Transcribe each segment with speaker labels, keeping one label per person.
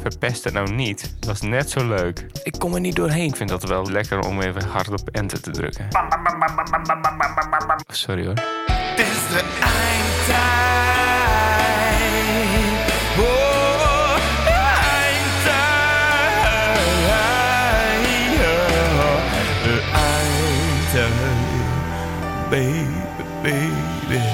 Speaker 1: verpest het nou niet. Het was net zo leuk. Ik kom er niet doorheen. Ik vind dat wel lekker om even hard op enter te drukken. Sorry hoor.
Speaker 2: Het is de eindtijd. Oh, eindtijd. De eindtijd. Baby, baby.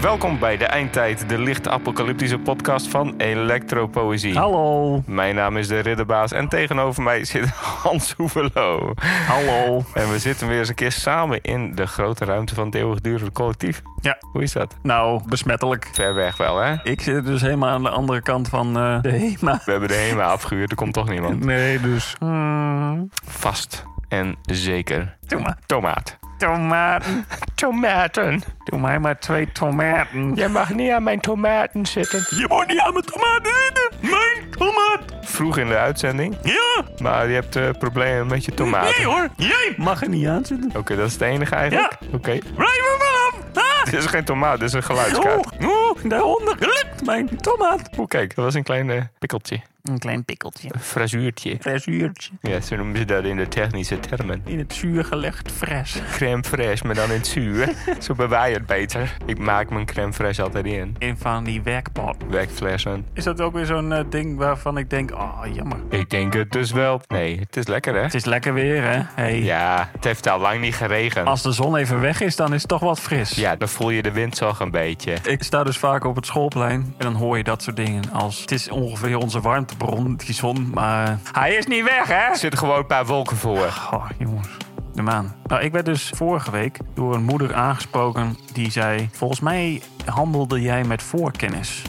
Speaker 1: Welkom bij De Eindtijd, de licht apocalyptische podcast van Electropoëzie.
Speaker 3: Hallo.
Speaker 1: Mijn naam is de Ridderbaas en tegenover mij zit Hans Hoevelo.
Speaker 3: Hallo.
Speaker 1: En we zitten weer eens een keer samen in de grote ruimte van het eeuwigdurende collectief.
Speaker 3: Ja.
Speaker 1: Hoe is dat?
Speaker 3: Nou, besmettelijk.
Speaker 1: Ver weg wel, hè?
Speaker 3: Ik zit dus helemaal aan de andere kant van eh, de HEMA.
Speaker 1: We hebben de HEMA afgehuurd, er komt toch niemand.
Speaker 3: Nee, dus. Hmm.
Speaker 1: Vast en zeker.
Speaker 3: Doe maar.
Speaker 1: Tomaat.
Speaker 3: Tomaten.
Speaker 1: Tomaten.
Speaker 3: Doe mij maar twee tomaten.
Speaker 1: Jij mag niet aan mijn tomaten zitten.
Speaker 3: Je moet niet aan mijn tomaten zitten. Mijn tomaat.
Speaker 1: Vroeg in de uitzending,
Speaker 3: Ja.
Speaker 1: maar je hebt eh, problemen met je
Speaker 3: Ah,
Speaker 1: tomaten.
Speaker 3: hoor. Jij mag er niet aan zitten.
Speaker 1: Oké, dat is het enige eigenlijk? Oké.
Speaker 3: Blijf er vanaf. Ah.
Speaker 1: Dit is geen tomaat, dit is een geluidskaart.
Speaker 3: Oh, oh, daaronder glipt mijn tomaat.
Speaker 1: Oeh, kijk, dat was een klein eh, pikkeltje.
Speaker 3: Een klein pikkeltje.
Speaker 1: Oh. Een frisuurtje.
Speaker 3: Fresuurtje.
Speaker 1: Ja, zo noemen ze dat in de technische termen.
Speaker 3: In het zuur gelegd fres.
Speaker 1: Crème fraîche, maar dan in het zuur. zo bewaar je het beter. Ik maak mijn crème fraîche altijd in.
Speaker 3: Een van die werkpot.
Speaker 1: Wegflessen.
Speaker 3: Is dat ook weer zo'n eh, ding waarvan ik denk, oh jammer.
Speaker 1: Ik denk het dus wel. Nee, het is lekker hè?
Speaker 3: Het is lekker weer, hè? Hey.
Speaker 1: Ja, het heeft al lang niet geregend.
Speaker 3: Als de zon even weg is, dan is het toch wat fris.
Speaker 1: Ja, dan voel je de wind toch een beetje.
Speaker 3: Ik sta dus vaak op het schoolplein en dan hoor je dat soort dingen als... Het is ongeveer onze warmtebron, die zon, maar... eh, Hij is niet weg, hè?
Speaker 1: Er zitten gewoon een paar wolken voor.
Speaker 3: Goh, jongens. De maan. Nou, ik werd dus vorige week door een moeder aangesproken die zei... Volgens mij handelde jij met voorkennis.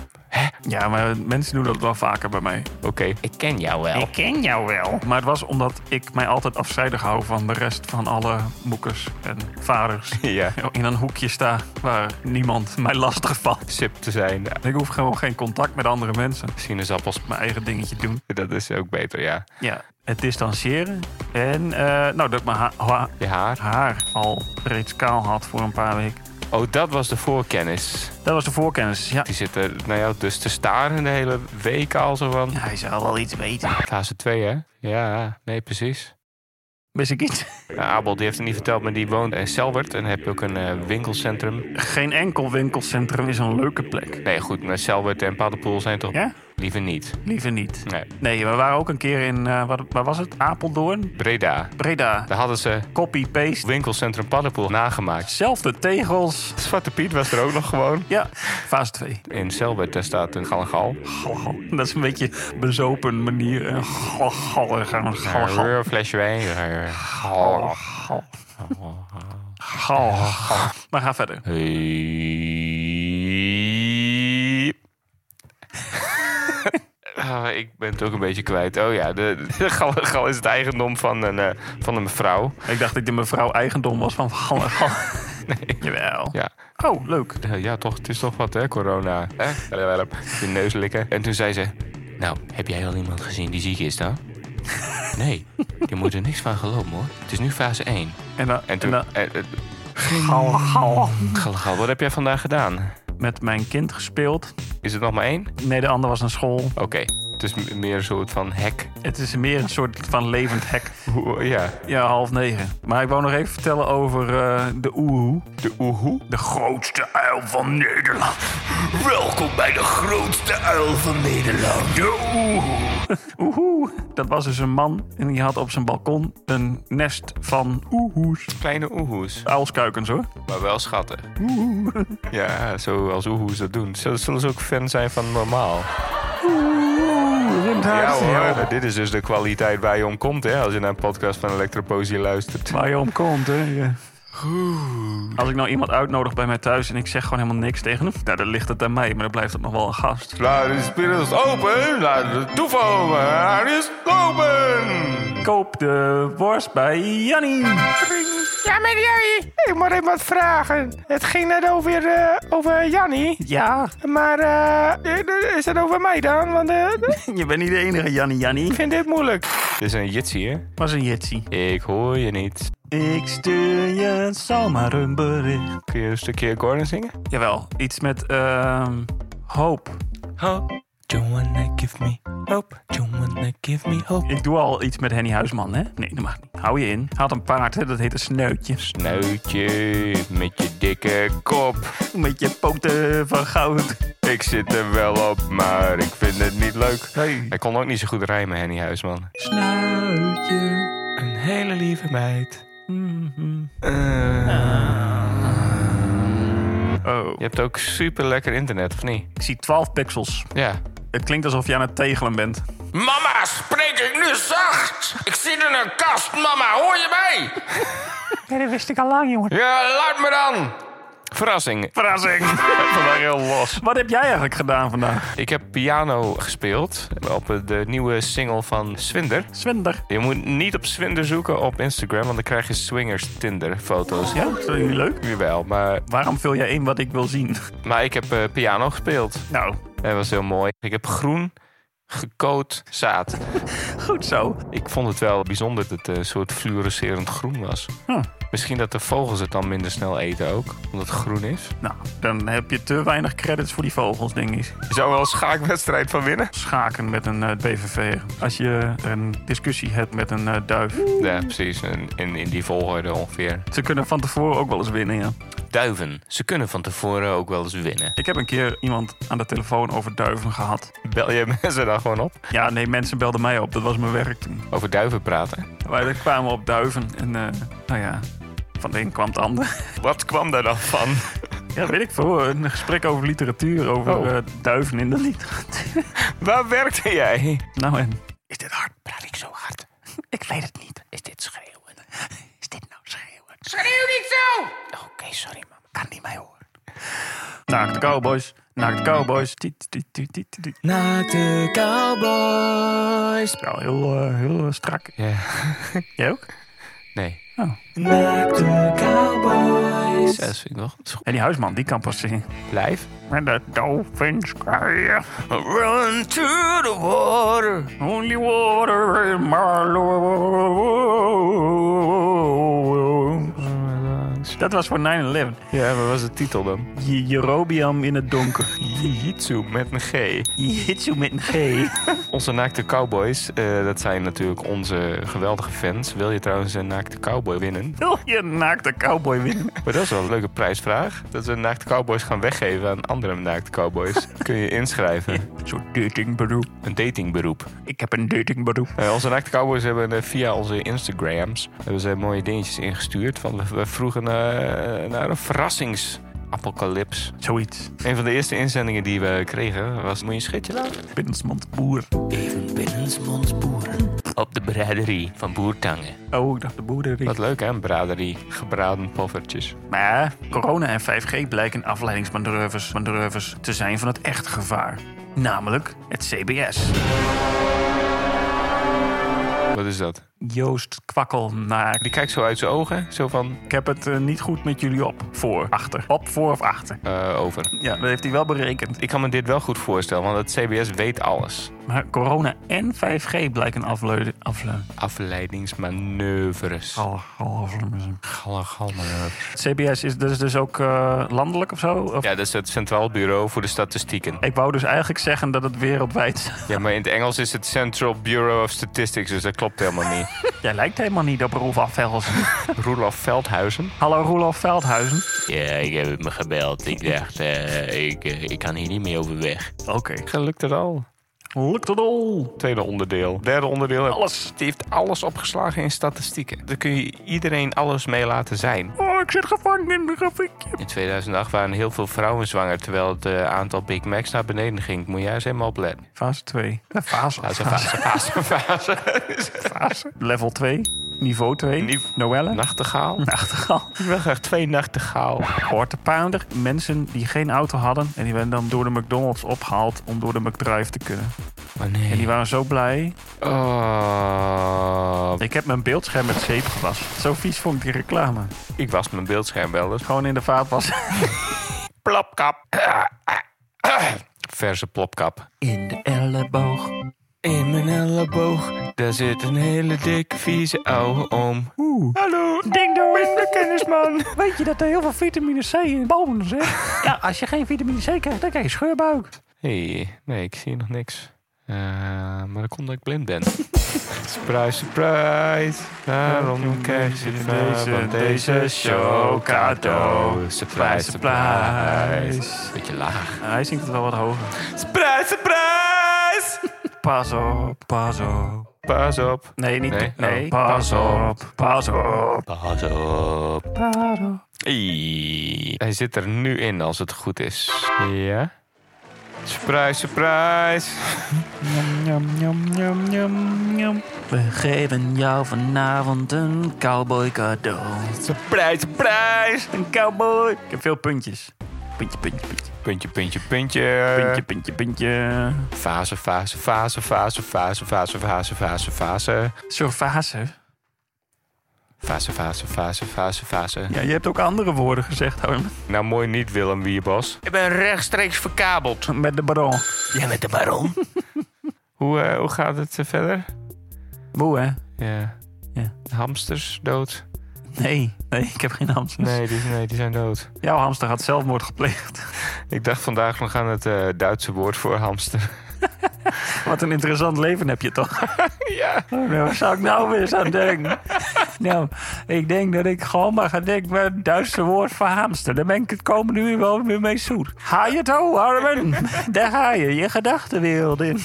Speaker 3: Ja, maar mensen doen dat wel vaker bij mij.
Speaker 1: Oké, ik ken jou wel.
Speaker 3: Ik ken jou wel. Oh. Maar het was omdat ik mij altijd afzijdig hou van de rest van alle moekers en vaders.
Speaker 1: Ja,
Speaker 3: In een hoekje sta waar niemand mij lastig valt. Dus
Speaker 1: sip te zijn. Ja,
Speaker 3: Ik hoef gewoon geen contact met andere mensen.
Speaker 1: Sinaasappels,
Speaker 3: Mijn eigen dingetje doen.
Speaker 1: dat is ook beter, ja.
Speaker 3: Ja. Het distancieren. En eh, nou, dat mijn ha- ha-
Speaker 1: Je haar.
Speaker 3: haar al reeds kaal had voor een paar weken.
Speaker 1: Oh, dat was de voorkennis.
Speaker 3: Dat was de voorkennis. Ja.
Speaker 1: Die zitten naar jou dus te staren de hele week al zo van.
Speaker 3: Hij zou wel iets weten.
Speaker 1: Fase 2, hè? Ja, nee, precies.
Speaker 3: Wist ik iets?
Speaker 1: Nou, Abel, die heeft het niet verteld, maar die woont in Selwert. En heb je ook een eh, winkelcentrum.
Speaker 3: Geen enkel winkelcentrum is een leuke plek.
Speaker 1: Nee, goed, maar Selwert en Paddenpoel zijn toch
Speaker 3: Ja?
Speaker 1: liever niet.
Speaker 3: Liever niet.
Speaker 1: Nee,
Speaker 3: Nee, we waren ook een keer in, eh, wat, waar was het? Apeldoorn?
Speaker 1: Breda.
Speaker 3: Breda.
Speaker 1: Daar hadden ze
Speaker 3: Copy-paste.
Speaker 1: winkelcentrum Paddenpoel nagemaakt.
Speaker 3: Zelfde tegels.
Speaker 1: Zwarte Piet was er ook nog gewoon.
Speaker 3: Ja, fase 2.
Speaker 1: In Selwert, daar staat een galgal.
Speaker 3: Dat is een beetje bezopen manier. eh, hè. Gal, gal, gal, gal, gal,
Speaker 1: Een flesje wijn.
Speaker 3: gal, gal. Gal, gal. Maar ga verder.
Speaker 1: Hey. Ah, ik ben het ook een beetje kwijt. Oh ja, de, de gal, gal is het eigendom van een, eh, van een mevrouw.
Speaker 3: Ik dacht dat de mevrouw eigendom was van gal, gal. Jawel.
Speaker 1: Ja.
Speaker 3: Oh, leuk.
Speaker 1: Eh, ja, toch, het is toch wat, hè, corona. Hè? Je neus likken. En toen zei ze... Nou, heb jij al iemand gezien die ziek is dan? Nee, je moet er niks van geloven, hoor. Het is nu fase 1.
Speaker 3: En dan,
Speaker 1: En toen...
Speaker 3: en
Speaker 1: eh, eh,
Speaker 3: dan gal, gal.
Speaker 1: gal, gal, wat heb jij vandaag gedaan?
Speaker 3: Met mijn kind gespeeld.
Speaker 1: Is het nog maar één?
Speaker 3: Nee, de ander was naar school.
Speaker 1: Oké, het is m- meer een soort van hek.
Speaker 3: Het is meer een soort van levend hek.
Speaker 1: Hoe- Ja,
Speaker 3: Ja, half negen. Maar ik wou nog even vertellen over eh, de oehoe.
Speaker 1: de oehoe.
Speaker 3: De grootste uil van Nederland.
Speaker 2: Welkom bij de grootste uil van Nederland. De oehoe.
Speaker 3: Oehoe. Dat was dus een man en die had op zijn balkon een nest van oehoes.
Speaker 1: Kleine oehoes,
Speaker 3: Uilskuikens hoor.
Speaker 1: maar wel schatten. Ja, zoals oehoes dat doen. Zullen, zullen ze ook fan zijn van normaal? Ja hoor, dit is dus de kwaliteit waar je om komt hè, als je naar een podcast van Electroposie luistert.
Speaker 3: Waar je om komt hè. ja. Als ik nou iemand uitnodig bij mij thuis en ik zeg gewoon helemaal niks tegen hem. Nou, dan ligt het aan mij, maar dan blijft het nog wel een gast.
Speaker 1: Laat de spelers open, laat de toef open, laat is open!
Speaker 3: Koop de worst bij Jannie.
Speaker 4: Ja, meneer Jannie, ik moet even wat vragen. Het ging net over, eh, over Jannie,
Speaker 3: Ja,
Speaker 4: maar eh, eh, is het over mij dan? Want eh, ik
Speaker 3: je bent niet de enige Jannie Jannie.
Speaker 4: vind dit moeilijk.
Speaker 1: Dit is een jitsie hè?
Speaker 3: Was een jitsie.
Speaker 1: Ik hoor je niet.
Speaker 3: Ik stuur je zomaar een bericht.
Speaker 1: Kun je een stukje Gordon zingen?
Speaker 3: Jawel, iets met ehm, hoop.
Speaker 1: hope. Joanna, give me hope. Joanna, give me hope.
Speaker 3: Ik doe al iets met Henny Huisman, hè? Nee, dat mag niet. Hou je in. Hij had een paard, hè? Dat heet een sneutje.
Speaker 1: Snuitje met je dikke kop.
Speaker 3: Met je poten van goud.
Speaker 1: Ik zit er wel op, maar ik vind het niet leuk.
Speaker 3: Hey.
Speaker 1: Hij kon ook niet zo goed rijmen, Henny Huisman.
Speaker 3: Snuitje.
Speaker 1: Een hele lieve meid.
Speaker 3: Mhm.
Speaker 1: Eh.
Speaker 3: Oh.
Speaker 1: Je hebt ook super lekker internet, of niet?
Speaker 3: Ik zie 12 pixels.
Speaker 1: Ja.
Speaker 3: Het klinkt alsof je aan het tegelen bent.
Speaker 2: Mama, spreek ik nu zacht? Ik zit in een kast, mama, hoor je mij?
Speaker 4: Ja, dat wist ik al lang, jongen.
Speaker 1: Ja, laat me dan! Verrassing.
Speaker 3: Verrassing.
Speaker 1: Vandaag heel los.
Speaker 3: Wat heb jij eigenlijk gedaan vandaag?
Speaker 1: Ik heb piano gespeeld op de nieuwe single van Swinder.
Speaker 3: Zwinder.
Speaker 1: Je moet niet op Swinder zoeken op Instagram, want dan krijg je swingers Tinder foto's.
Speaker 3: Ja, dat is jullie leuk.
Speaker 1: Jawel, maar,
Speaker 3: Waarom vul jij in wat ik wil zien?
Speaker 1: maar ik heb eh, piano gespeeld.
Speaker 3: Nou,
Speaker 1: Dat was heel mooi. Ik heb groen gekoot zaad.
Speaker 3: goed zo.
Speaker 1: Ik vond het wel bijzonder dat het een soort fluorescerend groen was.
Speaker 3: Huh.
Speaker 1: Misschien dat de vogels het dan minder snel eten ook, omdat het groen is.
Speaker 3: Nou, dan heb je te weinig credits voor die vogels, denk ik.
Speaker 1: Je zou wel een schaakwedstrijd van winnen.
Speaker 3: Schaken met een eh, BVV. Als je een discussie hebt met een eh, duif.
Speaker 1: Ja, precies. In, in, in die volgorde ongeveer.
Speaker 3: Ze kunnen van tevoren ook wel eens winnen, ja.
Speaker 1: Duiven. Ze kunnen van tevoren ook wel eens winnen.
Speaker 3: Ik heb een keer iemand aan de telefoon over duiven gehad.
Speaker 1: Bel je mensen dan gewoon op?
Speaker 3: Ja, nee, mensen belden mij op. Dat was mijn werk toen.
Speaker 1: Over duiven praten.
Speaker 3: Maar dan kwamen we op duiven. En eh, nou ja, van de een kwam het ander.
Speaker 1: Wat kwam daar dan van?
Speaker 3: Ja, weet ik veel. Een gesprek over literatuur, over
Speaker 1: Oh.
Speaker 3: eh, duiven in de literatuur.
Speaker 1: Waar werkte jij?
Speaker 3: Nou en...
Speaker 1: Is dit hard? Praat ik zo hard? Ik weet het niet. Is dit schreeuwen? Is dit nou schreeuwen?
Speaker 2: Schreeuw niet zo!
Speaker 1: Oké, sorry man. Kan niet mij horen.
Speaker 3: Naakte cowboys, naakte cowboys. Tiet, tiet, tiet, tiet, tiet.
Speaker 1: Naakte cowboys.
Speaker 3: Nou, heel, eh, heel eh, strak.
Speaker 1: Ja,
Speaker 3: Jij ook?
Speaker 1: nee.
Speaker 3: Oh.
Speaker 1: Naakte cowboys. Ja, dat vind ik wel goed.
Speaker 3: En die huisman, die kan pas zingen.
Speaker 1: Blijf.
Speaker 3: Met de dolphins cry,
Speaker 1: Run to the water.
Speaker 3: only water in my lungs. Dat was voor 9-11.
Speaker 1: Ja, wat was de titel dan?
Speaker 3: Je- Jerobiam in het donker.
Speaker 1: Jitsu met een G.
Speaker 3: Jitsu met een G.
Speaker 1: Onze naakte cowboys, eh, dat zijn natuurlijk onze geweldige fans. Wil je trouwens een naakte cowboy winnen?
Speaker 3: Wil je een naakte cowboy winnen?
Speaker 1: Maar dat is wel een leuke prijsvraag. Dat we naakte cowboys gaan weggeven aan andere naakte cowboys. Kun je inschrijven.
Speaker 3: Zo'n datingberoep.
Speaker 1: Een datingberoep.
Speaker 3: Ik heb een datingberoep.
Speaker 1: Eh, onze naakte cowboys hebben eh, via onze Instagrams hebben ze mooie dingetjes ingestuurd. Van, we, we vroegen eh, naar een verrassingsapocalyps.
Speaker 3: Zoiets.
Speaker 1: Een van de eerste inzendingen die we kregen was... Moet je een schetje laten?
Speaker 3: Binnensmond boer.
Speaker 1: Even binnensmonds boeren. Op de braderie van Boertangen.
Speaker 3: Oh, ik dacht de boerderie.
Speaker 1: Wat leuk hè, een braderie. Gebraden poffertjes.
Speaker 3: Maar corona en 5G blijken afleidingsmanoeuvres manoeuvres te zijn van het echte gevaar. Namelijk het CBS.
Speaker 1: Wat is dat?
Speaker 3: Joost kwakkel naar...
Speaker 1: Die kijkt zo uit zijn ogen. Zo van
Speaker 3: Ik heb het eh, niet goed met jullie op. Voor, achter. Op, voor of achter.
Speaker 1: eh, over.
Speaker 3: Ja, dat heeft hij wel berekend.
Speaker 1: Ik kan me dit wel goed voorstellen, want het CBS weet alles.
Speaker 3: Maar corona en 5G blijken afleiden... Afleiden.
Speaker 1: Afleidingsmanoeuvres.
Speaker 3: Gal- gal- afleiden.
Speaker 1: Gallegalmanoeuvres.
Speaker 3: Het CBS is, dat is dus ook eh, landelijk of zo? Of-
Speaker 1: Ja, dat is het Centraal Bureau voor de Statistieken.
Speaker 3: Ik wou dus eigenlijk zeggen dat het wereldwijd... is.
Speaker 1: Ja, maar in het Engels is het Central Bureau of Statistics, dus dat klopt helemaal niet.
Speaker 3: Jij lijkt helemaal niet op Roelof Veldhuizen.
Speaker 1: Roelof Veldhuizen.
Speaker 3: Hallo Roelof Veldhuizen.
Speaker 1: Ja, ik heb me gebeld. Ik dacht, eh, ik, ik kan hier niet meer overweg.
Speaker 3: Oké.
Speaker 1: Gelukt het al.
Speaker 3: Lukt het al?
Speaker 1: Tweede onderdeel. Derde onderdeel.
Speaker 3: Alles.
Speaker 1: Die heeft alles opgeslagen in statistieken. Daar kun je iedereen alles mee laten zijn.
Speaker 3: Oh, ik zit gevangen in mijn grafiekje.
Speaker 1: In 2008 waren heel veel vrouwen zwanger, terwijl het eh, aantal Big Macs naar beneden ging. Moet jij eens helemaal opletten.
Speaker 3: Fase 2. Fase.
Speaker 1: Fase, fase, fase, fase.
Speaker 3: fase. Level 2. Niveau 2.
Speaker 1: Nive-
Speaker 3: Noelle.
Speaker 1: Nachtegaal?
Speaker 3: Nachtegaal.
Speaker 1: Nou, Ik wil graag twee nachtegaal.
Speaker 3: Quarter pounder. Mensen die geen auto hadden. En die werden dan door de McDonald's opgehaald om door de McDrive te kunnen.
Speaker 1: Maar
Speaker 3: En die
Speaker 1: nee.
Speaker 3: waren zo blij.
Speaker 1: Oh,
Speaker 3: Ik heb mijn beeldscherm met zeep gewassen. Zo vies vond ik die reclame.
Speaker 1: ik was mijn beeldscherm wel eens.
Speaker 3: Gewoon in de vaatwas.
Speaker 1: Plopkap. Verse plopkap.
Speaker 3: In de elleboog.
Speaker 1: In mijn elleboog, daar zit een hele dikke vieze ouwe om.
Speaker 4: Hallo, ding dong. Ik ben kennisman. Weet je dat er heel veel vitamine C in bomen zit? Ja, als je geen vitamine C krijgt, dan krijg je scheurbuik.
Speaker 1: hey, nee, ik zie nog niks. Eh, maar dat komt omdat ik blind ben. surprise, surprise. Daarom krijg je deze, van deze show cadeau. Surprise, surprise. Beetje laag.
Speaker 3: Nou, hij zingt het wel wat hoger.
Speaker 1: Surprise, surprise.
Speaker 3: Pas op, pas op.
Speaker 1: Pas op.
Speaker 3: Nee, niet.
Speaker 1: Nee?
Speaker 3: Nee,
Speaker 1: Oh.
Speaker 3: pas op, pas op.
Speaker 1: Pas op. Ei. Hij zit er nu in als het goed is. Ja. Surprise, surprise.
Speaker 3: We geven jou vanavond een cowboy cadeau.
Speaker 1: Surprise, surprise.
Speaker 3: Een cowboy. Ik heb veel puntjes. Puntje, puntje, puntje.
Speaker 1: Puntje, puntje, puntje.
Speaker 3: Puntje, puntje, puntje.
Speaker 1: Fase, fase, fase, fase, fase, fase, fase, fase, fase.
Speaker 3: Zo'n fase.
Speaker 1: Fase, fase, fase, fase, fase.
Speaker 3: Ja, je hebt ook andere woorden gezegd, hoor.
Speaker 1: Nou, mooi niet, Willem Wierbos.
Speaker 2: Ik ben rechtstreeks verkabeld.
Speaker 3: Met de baron.
Speaker 2: Jij met de baron?
Speaker 1: Hoe, eh, hoe gaat het eh, verder?
Speaker 3: Moe, hè?
Speaker 1: Ja.
Speaker 3: Ja.
Speaker 1: Hamsters dood?
Speaker 3: Nee, nee, ik heb geen hamster.
Speaker 1: Nee die, nee, die zijn dood.
Speaker 3: Jouw hamster had zelfmoord gepleegd.
Speaker 1: Ik dacht vandaag nog aan het eh, Duitse woord voor hamster.
Speaker 3: Wat een interessant leven heb je toch?
Speaker 1: ja.
Speaker 3: Nou, Waar zou ik nou weer eens aan denken? Nou, ik denk dat ik gewoon maar ga denken bij het Duitse woord voor hamster. Daar ben ik het komende uur wel weer mee zoet. Ga je toe, Armen. Daar ga je, je gedachtenwereld in.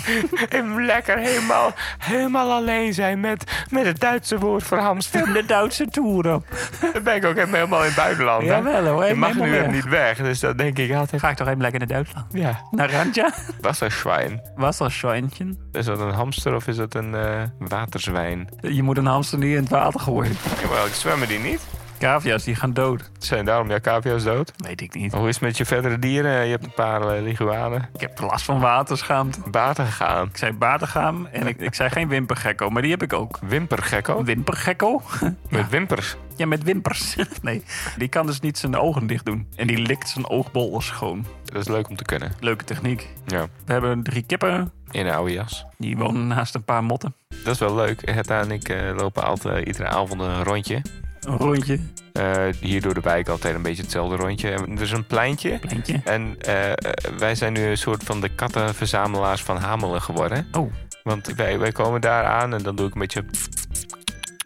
Speaker 1: En lekker helemaal, helemaal alleen zijn met, met het Duitse woord voor hamster.
Speaker 3: De Duitse toer op.
Speaker 1: Dan ben ik ook helemaal in het buitenland. hè?
Speaker 3: Jawel hoor,
Speaker 1: Je mag
Speaker 3: helemaal
Speaker 1: nu
Speaker 3: weg.
Speaker 1: niet weg, dus dan denk ik altijd...
Speaker 3: Ga ik toch even lekker naar Duitsland?
Speaker 1: Ja,
Speaker 3: Naar Randja?
Speaker 1: wasserschwein.
Speaker 3: Was dat schoentje?
Speaker 1: Is dat een hamster of is dat een eh, waterzwijn?
Speaker 3: Je moet een hamster niet in het water gooien.
Speaker 1: Jawel, ik zwemmen die niet.
Speaker 3: Cavia's, die gaan dood.
Speaker 1: Zijn daarom jouw cavia's dood?
Speaker 3: Weet ik niet.
Speaker 1: Hoe is het met je verdere dieren? Je hebt een paar eh, leguanen
Speaker 3: Ik heb last van waterschaamte.
Speaker 1: baten gegaan.
Speaker 3: Ik zei baardengaam en ik, ik zei geen wimpergekko, maar die heb ik ook.
Speaker 1: Wimpergekko?
Speaker 3: Wimpergekko?
Speaker 1: Met wimpers.
Speaker 3: Ja, met wimpers. Nee, die kan dus niet zijn ogen dicht doen. En die likt zijn oogbol schoon.
Speaker 1: Dat is leuk om te kunnen.
Speaker 3: Leuke techniek.
Speaker 1: Ja.
Speaker 3: We hebben drie kippen.
Speaker 1: In een oude jas.
Speaker 3: Die wonen naast een paar motten.
Speaker 1: Dat is wel leuk. Hetta en ik eh, lopen altijd iedere avond een rondje.
Speaker 3: Een rondje,
Speaker 1: Eh, hier door de wijk altijd een beetje hetzelfde rondje. En er is een pleintje.
Speaker 3: pleintje.
Speaker 1: En eh, eh, wij zijn nu een soort van de kattenverzamelaars van Hamelen geworden.
Speaker 3: Oh,
Speaker 1: Want wij, wij komen daar aan en dan doe ik een beetje...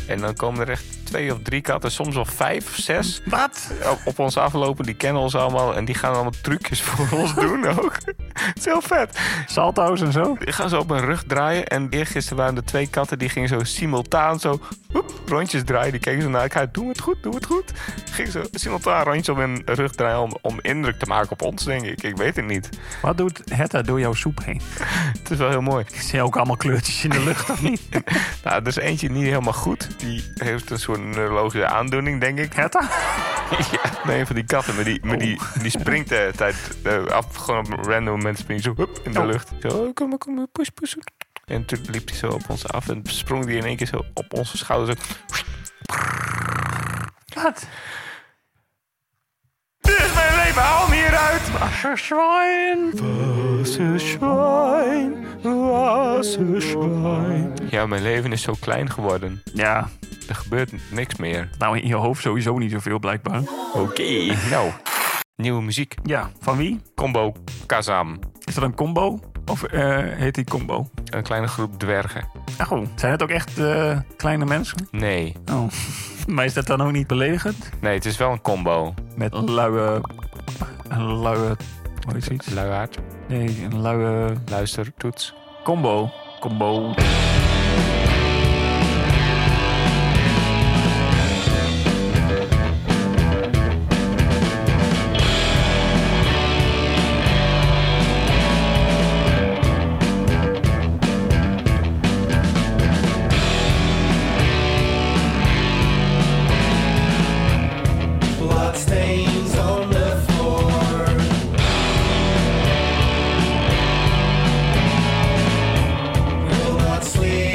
Speaker 1: En dan komen er echt twee of drie katten, soms wel vijf of zes...
Speaker 3: wat?
Speaker 1: op, op ons aflopen. Die kennen ons allemaal en die gaan allemaal trucjes voor ons doen ook. Het is heel vet.
Speaker 3: Salto's en zo.
Speaker 1: Die gaan zo op hun rug draaien. En eergisteren waren er twee katten die gingen zo simultaan zo hoep, rondjes draaien. Die keken zo naar elkaar. Doe het goed, doe het goed. Gingen zo simultaan rondjes op hun rug draaien om, om indruk te maken op ons, denk ik. Ik weet het niet.
Speaker 3: Wat doet Hetta door jouw soep heen?
Speaker 1: Het is wel heel mooi.
Speaker 3: Ik zie ook allemaal kleurtjes in de lucht, of niet?
Speaker 1: Nou, er is eentje niet helemaal goed. Die heeft een soort neurologische aandoening, denk ik.
Speaker 3: Hetta?
Speaker 1: Ja, nee, van die katten. Maar die, maar die, die springt de hele tijd eh, af. Gewoon op een random moment springt zo hup, in de
Speaker 3: Oh.
Speaker 1: lucht. Zo, oh, kom maar, kom maar, push, push. En toen liep hij zo op ons af en sprong die in één keer zo op onze schouders. Zo.
Speaker 3: Wat?
Speaker 1: Dit is mijn leven, haal hem hieruit!
Speaker 3: Zwaaien.
Speaker 1: Ja, mijn leven is zo klein geworden.
Speaker 3: Ja,
Speaker 1: Er gebeurt n- niks meer.
Speaker 3: nou in je hoofd sowieso niet zoveel blijkbaar.
Speaker 1: Oké, nou. Nieuwe muziek.
Speaker 3: Ja, van wie?
Speaker 1: Combo Kazam.
Speaker 3: Is dat een combo? Of eh, heet die combo?
Speaker 1: Een kleine groep dwergen.
Speaker 3: Ach, oh, zijn het ook echt eh, kleine mensen?
Speaker 1: Nee.
Speaker 3: Oh. Maar is dat dan ook niet beledigend?
Speaker 1: Nee, het is wel een combo.
Speaker 3: Met een luie... Een luie... Hoe heet zoiets?
Speaker 1: Luiaard,
Speaker 3: Nee, een luie...
Speaker 1: luister, toets.
Speaker 3: Combo. Combo.
Speaker 5: Bloodstains on the floor. Will not sleep.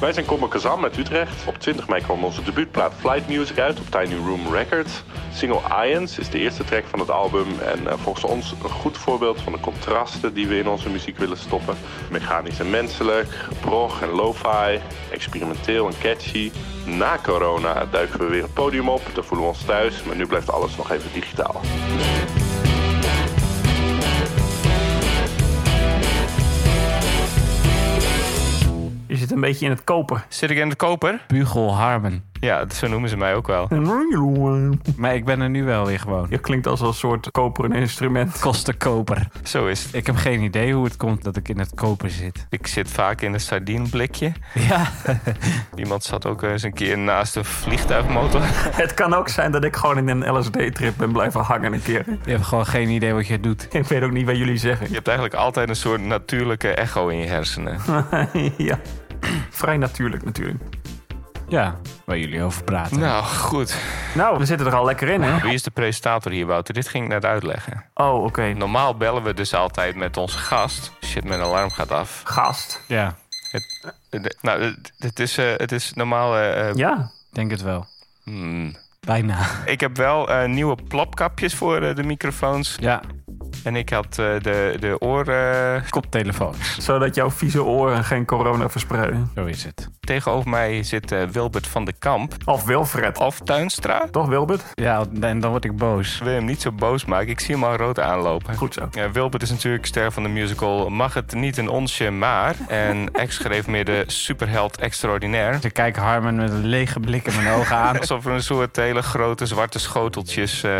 Speaker 6: Wij zijn Komme Kazam uit Utrecht. Op 20 mei kwam onze debuutplaat Flight Music uit op Tiny Room Records. Single Ions is de eerste track van het album en eh, volgens ons een goed voorbeeld van de contrasten die we in onze muziek willen stoppen. Mechanisch en menselijk, prog en lo-fi, experimenteel en catchy. Na corona duiken we weer het podium op, daar voelen we ons thuis, maar nu blijft alles nog even digitaal.
Speaker 3: Je zit een beetje in het kopen.
Speaker 1: Zit ik in de koper?
Speaker 7: Bugel Harmen.
Speaker 1: Ja, zo noemen ze mij ook wel.
Speaker 7: Maar ik ben er nu wel weer gewoon.
Speaker 3: Je klinkt als een soort koperen instrument.
Speaker 7: Kostenkoper.
Speaker 1: Zo is het.
Speaker 7: Ik heb geen idee hoe het komt dat ik in het koper zit.
Speaker 1: Ik zit vaak in een sardienblikje.
Speaker 7: Ja.
Speaker 1: Iemand zat ook eens een keer naast een vliegtuigmotor.
Speaker 3: Het kan ook zijn dat ik gewoon in een LSD-trip ben blijven hangen een keer.
Speaker 7: Je hebt gewoon geen idee wat je doet.
Speaker 3: Ik weet ook niet wat jullie zeggen.
Speaker 1: Je hebt eigenlijk altijd een soort natuurlijke echo in je hersenen.
Speaker 3: ja. Vrij natuurlijk natuurlijk.
Speaker 7: Ja, waar jullie over praten.
Speaker 1: Nou, goed.
Speaker 3: Nou, we zitten er al lekker in, hè?
Speaker 1: Wie is de presentator hier, Wouter? Dit ging ik net uitleggen.
Speaker 3: Oh, oké.
Speaker 1: Normaal bellen we dus altijd met onze gast. Shit, mijn alarm gaat af.
Speaker 3: Gast.
Speaker 7: Ja,
Speaker 1: Eh, de- Nou, het- het is, eh, het is normaal... eh, eh,
Speaker 3: Ja.
Speaker 7: denk het wel.
Speaker 1: hmm.
Speaker 7: Bijna.
Speaker 1: Ik heb wel eh, nieuwe plopkapjes voor eh, de microfoons.
Speaker 7: Ja,
Speaker 1: En ik had eh, de, de eh, oren...
Speaker 7: koptelefoons.
Speaker 3: Zodat jouw vieze oren geen corona verspreiden.
Speaker 7: Zo is het.
Speaker 1: Tegenover mij zit eh, Wilbert van de Kamp.
Speaker 3: Of Wilfred.
Speaker 1: Of Tuinstra.
Speaker 3: Toch, Wilbert?
Speaker 7: Ja, en dan word ik boos.
Speaker 1: Ik wil hem niet zo boos maken. Ik zie hem al rood aanlopen.
Speaker 3: Goed zo.
Speaker 1: Ja, Wilbert is natuurlijk ster van de musical Mag het niet een onsje maar. En ex schreef meer de superheld extraordinair.
Speaker 7: Ze kijken Harmen met een lege blik in mijn ogen aan.
Speaker 1: Alsof er een soort hele grote zwarte schoteltjes... eh,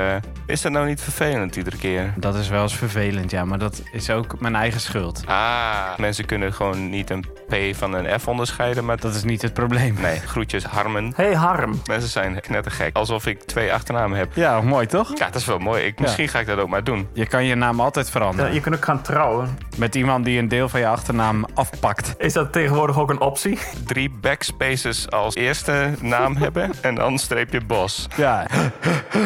Speaker 1: Is dat nou niet vervelend iedere keer?
Speaker 7: Dat is wel eens vervelend, ja, maar dat is ook mijn eigen schuld.
Speaker 1: Ah, mensen kunnen gewoon niet een P van een F onderscheiden, maar...
Speaker 7: Dat is niet het probleem.
Speaker 1: Nee, groetjes Harmen.
Speaker 3: Hey Harm.
Speaker 1: Mensen zijn knettergek. Alsof ik twee achternamen heb.
Speaker 7: Ja, mooi toch?
Speaker 1: Ja, dat is wel mooi. Ik, misschien ga ik dat ook maar doen.
Speaker 7: Je kan je naam altijd
Speaker 3: Ja,
Speaker 7: veranderen.
Speaker 3: je kunt ook gaan trouwen.
Speaker 7: Met iemand die een deel van je achternaam afpakt.
Speaker 3: Is dat tegenwoordig ook een optie?
Speaker 1: Drie backspaces als eerste naam hebben en dan streep je Bos.
Speaker 7: Ja,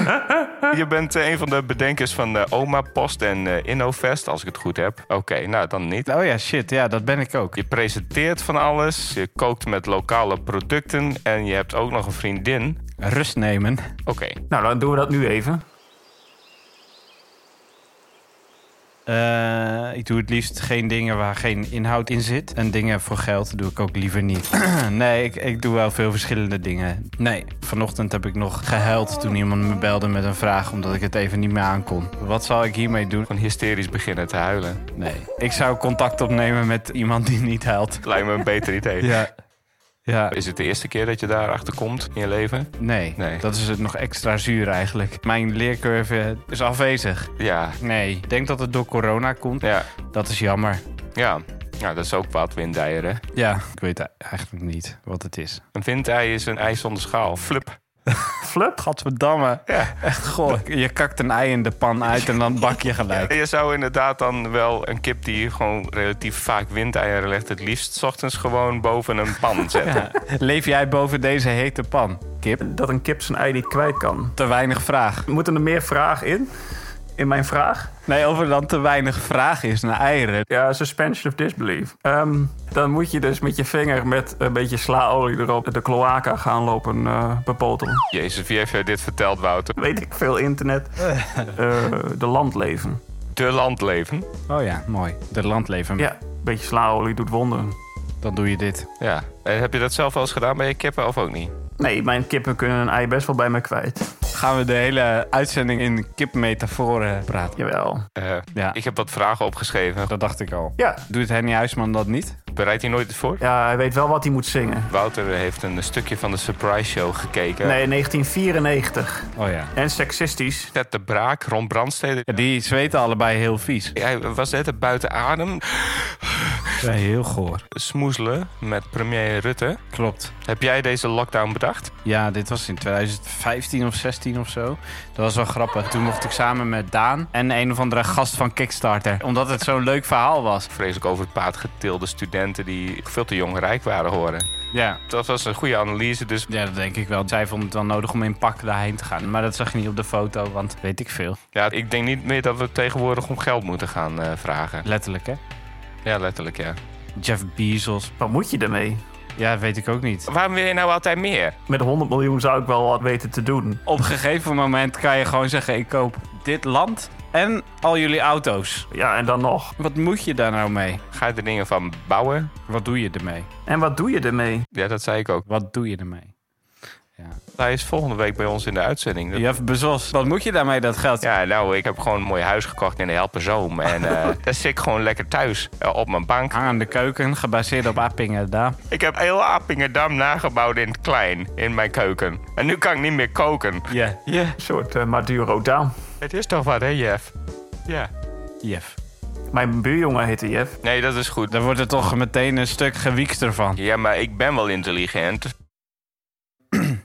Speaker 1: Je bent eh, een van de bedenkers van de Oma Post en eh, InnoFest, als ik het goed heb. Oké, nou dan niet.
Speaker 7: oh ja, shit, ja, dat ben ik ook.
Speaker 1: Je presenteert van alles, je kookt met lokale producten en je hebt ook nog een vriendin.
Speaker 7: Rust nemen.
Speaker 1: Oké,
Speaker 3: Nou, dan doen we dat nu even.
Speaker 7: Eh, ik doe het liefst geen dingen waar geen inhoud in zit. En dingen voor geld doe ik ook liever niet. nee, ik, ik doe wel veel verschillende dingen. Nee, vanochtend heb ik nog gehuild toen iemand me belde met een vraag omdat ik het even niet meer aankon. Wat zal ik hiermee doen?
Speaker 1: gewoon hysterisch beginnen te huilen.
Speaker 7: Nee, ik zou contact opnemen met iemand die niet huilt.
Speaker 1: Lijkt me een beter idee.
Speaker 7: Ja. Ja,
Speaker 1: Is het de eerste keer dat je daarachter komt in je leven?
Speaker 7: nee,
Speaker 1: Nee.
Speaker 7: Dat is het nog extra zuur eigenlijk. Mijn leercurve is afwezig.
Speaker 1: Ja,
Speaker 7: Nee, ik denk dat het door corona komt.
Speaker 1: ja,
Speaker 7: Dat is jammer.
Speaker 1: ja. Ja, dat is ook wat windeieren.
Speaker 7: Ja, ik weet eigenlijk niet wat het is.
Speaker 1: Een windei is een ijs zonder schaal. Flup.
Speaker 3: Flup.
Speaker 7: Gadverdamme. Echt goh. Je kakt een ei in de pan uit en dan bak je gelijk.
Speaker 1: Je zou inderdaad dan wel een kip die gewoon relatief vaak windeieren legt, het liefst 's ochtends gewoon boven een pan zetten.
Speaker 7: Leef jij boven deze hete pan? Kip,
Speaker 3: Dat een kip zijn ei niet kwijt kan.
Speaker 7: te weinig vraag.
Speaker 3: Moeten er meer vragen in? In mijn vraag?
Speaker 7: Nee, of er dan te weinig vraag is naar eieren.
Speaker 3: Ja, suspension of disbelief. Ehm, dan moet je dus met je vinger met een beetje slaolie erop de cloaca gaan lopen eh, bepotelen.
Speaker 1: Jezus, wie heeft jou dit verteld, Wouter?
Speaker 3: Weet ik veel, internet. Eh, de landleven.
Speaker 1: De landleven.
Speaker 7: Oh ja, mooi. De landleven.
Speaker 3: Ja, een beetje slaolie doet wonderen.
Speaker 7: Dan doe je dit.
Speaker 1: Ja. En Eh, heb je dat zelf wel eens gedaan bij je kippen of ook niet?
Speaker 3: Nee, mijn kippen kunnen een ei best wel bij me kwijt.
Speaker 7: Gaan we de hele uitzending in kipmetaforen praten?
Speaker 3: Jawel.
Speaker 1: Eh,
Speaker 7: Ja.
Speaker 1: Ik heb wat vragen opgeschreven.
Speaker 7: Dat dacht ik al.
Speaker 3: Ja.
Speaker 7: Doet Henny Huisman dat niet?
Speaker 1: Bereidt hij nooit voor?
Speaker 3: Ja, hij weet wel wat hij moet zingen.
Speaker 1: Wouter heeft een stukje van de Surprise Show gekeken.
Speaker 3: Nee, 1994.
Speaker 7: Oh ja.
Speaker 3: En seksistisch.
Speaker 1: Ted de Braak, Ron Brandstede.
Speaker 7: Die zweten allebei heel vies.
Speaker 1: Hij was net buiten adem.
Speaker 7: Ja, heel goor.
Speaker 1: Smoezelen met premier Rutte.
Speaker 7: Klopt.
Speaker 1: Heb jij deze lockdown bedacht?
Speaker 7: Ja, dit was in 2015 of 16 of zo. Dat was wel grappig. Toen mocht ik samen met Daan en een of andere gast van Kickstarter. Omdat het zo'n leuk verhaal was.
Speaker 1: Vreselijk over het paard getilde studenten die veel te jong rijk waren horen.
Speaker 7: Ja.
Speaker 1: Dat was een goede analyse, dus
Speaker 7: Ja, dat denk ik wel. Zij vond het wel nodig om in pak daarheen te gaan. Maar dat zag je niet op de foto, want weet ik veel.
Speaker 1: ja, ik denk niet meer dat we tegenwoordig om geld moeten gaan eh, vragen.
Speaker 7: Letterlijk, hè?
Speaker 1: Ja, letterlijk, ja.
Speaker 7: Jeff Bezos.
Speaker 3: Wat moet je ermee?
Speaker 7: Ja, weet ik ook niet.
Speaker 1: Waarom wil je nou altijd meer?
Speaker 3: Met 100 miljoen zou ik wel wat weten te doen.
Speaker 7: Op een gegeven moment kan je gewoon zeggen: ik koop dit land en al jullie auto's.
Speaker 3: Ja, en dan nog.
Speaker 7: Wat moet je daar nou mee?
Speaker 1: Ga je er dingen van bouwen?
Speaker 7: Wat doe je ermee?
Speaker 3: En wat doe je ermee?
Speaker 1: Ja, dat zei ik ook.
Speaker 7: Wat doe je ermee?
Speaker 1: Hij is volgende week bij ons in de uitzending. Dat-
Speaker 7: Jeff Bezos, wat moet je daarmee dat geld?
Speaker 1: Ja, nou, ik heb gewoon een mooi huis gekocht in de Helpenzoom. En eh, daar zit ik gewoon lekker thuis eh, op mijn bank.
Speaker 7: Hang aan de keuken, gebaseerd op Appingen daar.
Speaker 1: Ik heb heel Appingerdam nagebouwd in het klein, in mijn keuken. En nu kan ik niet meer koken.
Speaker 7: Ja,
Speaker 3: Een soort eh, Maduro Down.
Speaker 1: Het is toch wat, hè, Jeff? Ja.
Speaker 7: Jeff.
Speaker 3: Mijn buurjongen heette Jeff.
Speaker 1: Nee, dat is goed.
Speaker 7: Daar wordt er toch meteen een stuk gewiekster van.
Speaker 1: Ja, maar ik ben wel intelligent.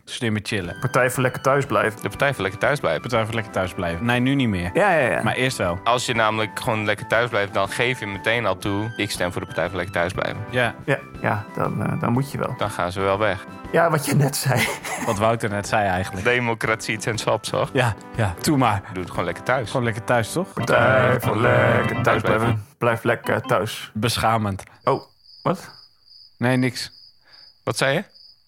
Speaker 7: Slimme chillen.
Speaker 3: Partij voor lekker thuis blijft.
Speaker 1: De Partij voor Lekker Thuis blijven.
Speaker 7: Moet even lekker thuis blijven. Nee, nu niet meer.
Speaker 3: Ja, ja, ja.
Speaker 7: Maar eerst wel.
Speaker 1: Als je namelijk gewoon lekker thuis blijft, dan geef je meteen al toe... ik stem voor de Partij voor Lekker Thuis blijven.
Speaker 7: Ja,
Speaker 3: Ja, ja dan, eh, dan moet je wel.
Speaker 1: Dan gaan ze wel weg.
Speaker 3: Ja, wat je net zei.
Speaker 7: wat Wouter net zei eigenlijk.
Speaker 1: Democratie ten sap, toch?
Speaker 7: Ja, ja. Doe maar.
Speaker 1: Doe het gewoon lekker thuis.
Speaker 7: Gewoon lekker thuis, toch?
Speaker 3: Partij voor lekker thuis blijven. Blijf lekker thuis.
Speaker 7: Beschamend.
Speaker 3: Oh, wat?
Speaker 7: Nee, niks.
Speaker 1: Wat zei je?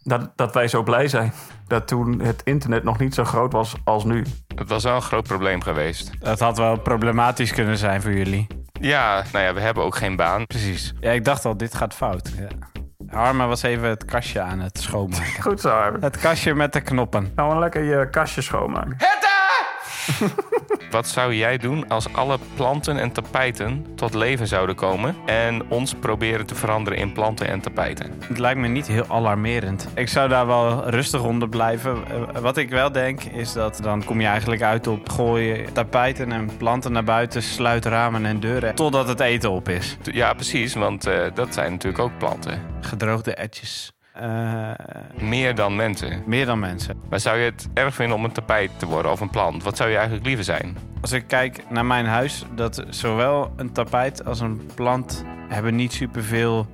Speaker 3: Dat, dat wij zo blij zijn. Dat toen het internet nog niet zo groot was als nu.
Speaker 1: Het was wel een groot probleem geweest.
Speaker 7: Dat had wel problematisch kunnen zijn voor jullie.
Speaker 1: Ja, nou ja, we hebben ook geen baan.
Speaker 7: Precies. Ja, ik dacht al, dit gaat fout. Ja. Arma was even het kastje aan het schoonmaken.
Speaker 3: Goed zo, Armin.
Speaker 7: Het kastje met de knoppen.
Speaker 3: Gaan we lekker je kastje schoonmaken.
Speaker 1: Wat zou jij doen als alle planten en tapijten tot leven zouden komen en ons proberen te veranderen in planten en tapijten?
Speaker 7: Het lijkt me niet heel alarmerend. Ik zou daar wel rustig onder blijven. Eh, Wat ik wel denk is dat dan kom je eigenlijk uit op gooien tapijten en planten naar buiten, sluit ramen en deuren totdat het eten op is.
Speaker 1: T- Ja, precies, want eh, dat zijn natuurlijk ook planten.
Speaker 7: Gedroogde etjes. Eh,
Speaker 1: Meer dan mensen.
Speaker 7: meer dan mensen.
Speaker 1: Maar zou je het erg vinden om een tapijt te worden of een plant? Wat zou je eigenlijk liever zijn?
Speaker 7: Als ik kijk naar mijn huis, dat zowel een tapijt als een plant hebben niet superveel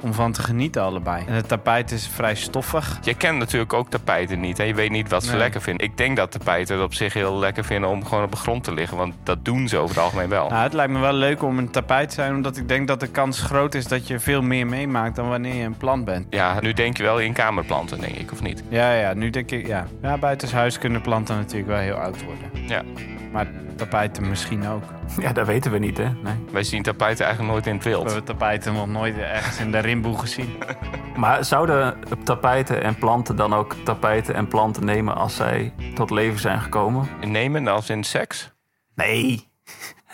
Speaker 7: om van te genieten allebei. En het tapijt is vrij stoffig.
Speaker 1: Je kent natuurlijk ook tapijten niet en je weet niet wat ze
Speaker 7: Nee.
Speaker 1: lekker vinden. Ik denk dat tapijten het op zich heel lekker vinden om gewoon op de grond te liggen, want dat doen ze over het algemeen wel.
Speaker 7: Nou, het lijkt me wel leuk om een tapijt te zijn, omdat ik denk dat de kans groot is dat je veel meer meemaakt dan wanneer je een plant bent.
Speaker 1: Ja, nu denk je wel in kamerplanten, denk ik, of niet?
Speaker 7: Ja, ja, nu denk ik, ja. Ja, buitenshuis kunnen planten natuurlijk wel heel oud worden.
Speaker 1: Ja.
Speaker 7: Maar tapijten misschien ook.
Speaker 3: Ja, dat weten we niet, hè? Nee.
Speaker 1: Wij zien tapijten eigenlijk nooit in het
Speaker 7: We
Speaker 1: wild.
Speaker 7: hebben tapijten nog nooit ergens in de rimboe gezien.
Speaker 3: Maar zouden tapijten en planten dan ook tapijten en planten nemen als zij tot leven zijn gekomen?
Speaker 1: Nemen als in seks?
Speaker 3: Nee.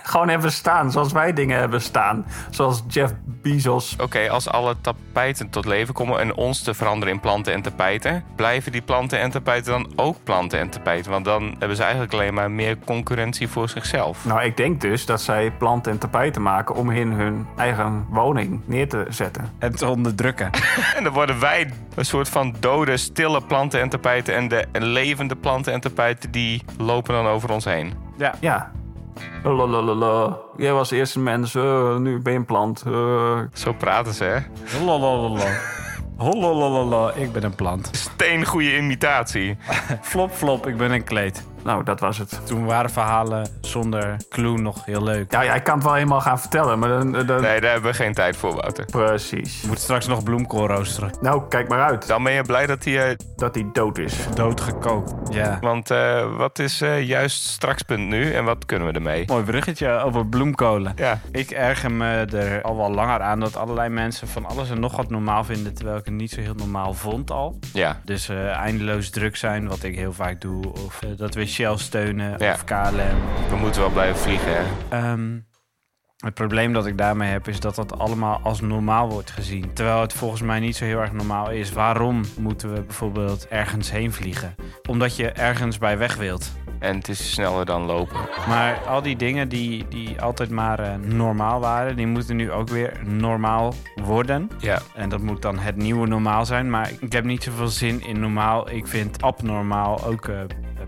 Speaker 3: Gewoon hebben staan, zoals wij dingen hebben staan. Zoals Jeff Bezos.
Speaker 1: Oké, als alle tapijten tot leven komen en ons te veranderen in planten en tapijten, blijven die planten en tapijten dan ook planten en tapijten? Want dan hebben ze eigenlijk alleen maar meer concurrentie voor zichzelf.
Speaker 3: Nou, ik denk dus dat zij planten en tapijten maken om in hun eigen woning neer te zetten.
Speaker 7: En te onderdrukken.
Speaker 1: En dan worden wij een soort van dode, stille planten en tapijten en de en levende planten en tapijten die lopen dan over ons heen.
Speaker 7: Ja.
Speaker 3: Ja. Lalalala. Jij was eerst een mens, eh, nu ben je een plant. eh.
Speaker 1: Zo praten ze, hè?
Speaker 7: Hololololo. Hololololo, ik ben een plant.
Speaker 1: Steengoede imitatie.
Speaker 7: Flop, flop, ik ben een kleed.
Speaker 3: Nou, dat was het.
Speaker 7: Toen waren verhalen zonder clue nog heel leuk.
Speaker 3: Ja, ja, ik kan het wel helemaal gaan vertellen, maar dan... dan-
Speaker 1: Nee, daar hebben we geen tijd voor, Wouter.
Speaker 3: Precies.
Speaker 7: Ik moet straks nog bloemkool roosteren.
Speaker 3: Nou, kijk maar uit
Speaker 1: Dan ben je blij dat hij... eh,
Speaker 3: dat hij dood is.
Speaker 7: Doodgekookt. Ja.
Speaker 1: want eh, wat is eh, juist strakspunt nu en wat kunnen we ermee?
Speaker 7: Mooi bruggetje over bloemkolen.
Speaker 1: Ja,
Speaker 7: Ik erger me er al wel langer aan dat allerlei mensen van alles en nog wat normaal vinden, terwijl ik het niet zo heel normaal vond al.
Speaker 1: ja.
Speaker 7: Dus eh, eindeloos druk zijn, wat ik heel vaak doe, of eh, dat we Shell steunen
Speaker 1: Ja.
Speaker 7: of KLM.
Speaker 1: We moeten wel blijven vliegen, hè?
Speaker 7: Ehm, het probleem dat ik daarmee heb is dat dat allemaal als normaal wordt gezien, terwijl het volgens mij niet zo heel erg normaal is. Waarom moeten we bijvoorbeeld ergens heen vliegen? Omdat je ergens bij weg wilt.
Speaker 1: En het is sneller dan lopen.
Speaker 7: Maar al die dingen die, die altijd maar eh, normaal waren, die moeten nu ook weer normaal worden.
Speaker 1: Ja.
Speaker 7: En dat moet dan het nieuwe normaal zijn. Maar ik heb niet zoveel zin in normaal. Ik vind abnormaal ook eh,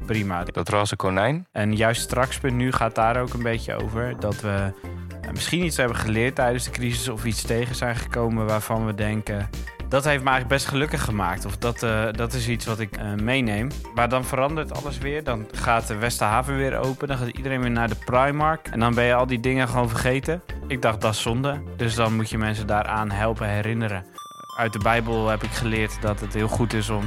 Speaker 7: prima.
Speaker 1: Dat roze konijn.
Speaker 7: En juist straks, punt nu, gaat daar ook een beetje over. Dat we eh, misschien iets hebben geleerd tijdens de crisis. Of iets tegen zijn gekomen waarvan we denken... Dat heeft me eigenlijk best gelukkig gemaakt. Of dat, eh, dat is iets wat ik eh, meeneem. Maar dan verandert alles weer. Dan gaat de Westerhaven weer open. Dan gaat iedereen weer naar de Primark. En dan ben je al die dingen gewoon vergeten. Ik dacht, dat is zonde. Dus dan moet je mensen daaraan helpen herinneren Uit de Bijbel heb ik geleerd dat het heel goed is om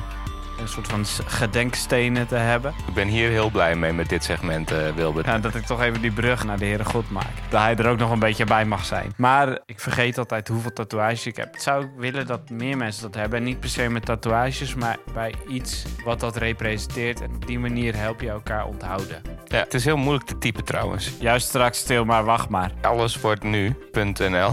Speaker 7: een soort van s- gedenkstenen te hebben.
Speaker 1: Ik ben hier heel blij mee met dit segment, eh, Wilbert.
Speaker 7: Ja, dat ik toch even die brug naar de Heere God maak. Dat hij er ook nog een beetje bij mag zijn. Maar ik vergeet altijd hoeveel tatoeages ik heb. Het zou ik willen dat meer mensen dat hebben. En niet per se met tatoeages, maar bij iets wat dat representeert. En op die manier help je elkaar onthouden.
Speaker 1: Ja, het is heel moeilijk te typen trouwens.
Speaker 7: Juist straks stil, maar wacht maar.
Speaker 1: Alles wordt nu.nl.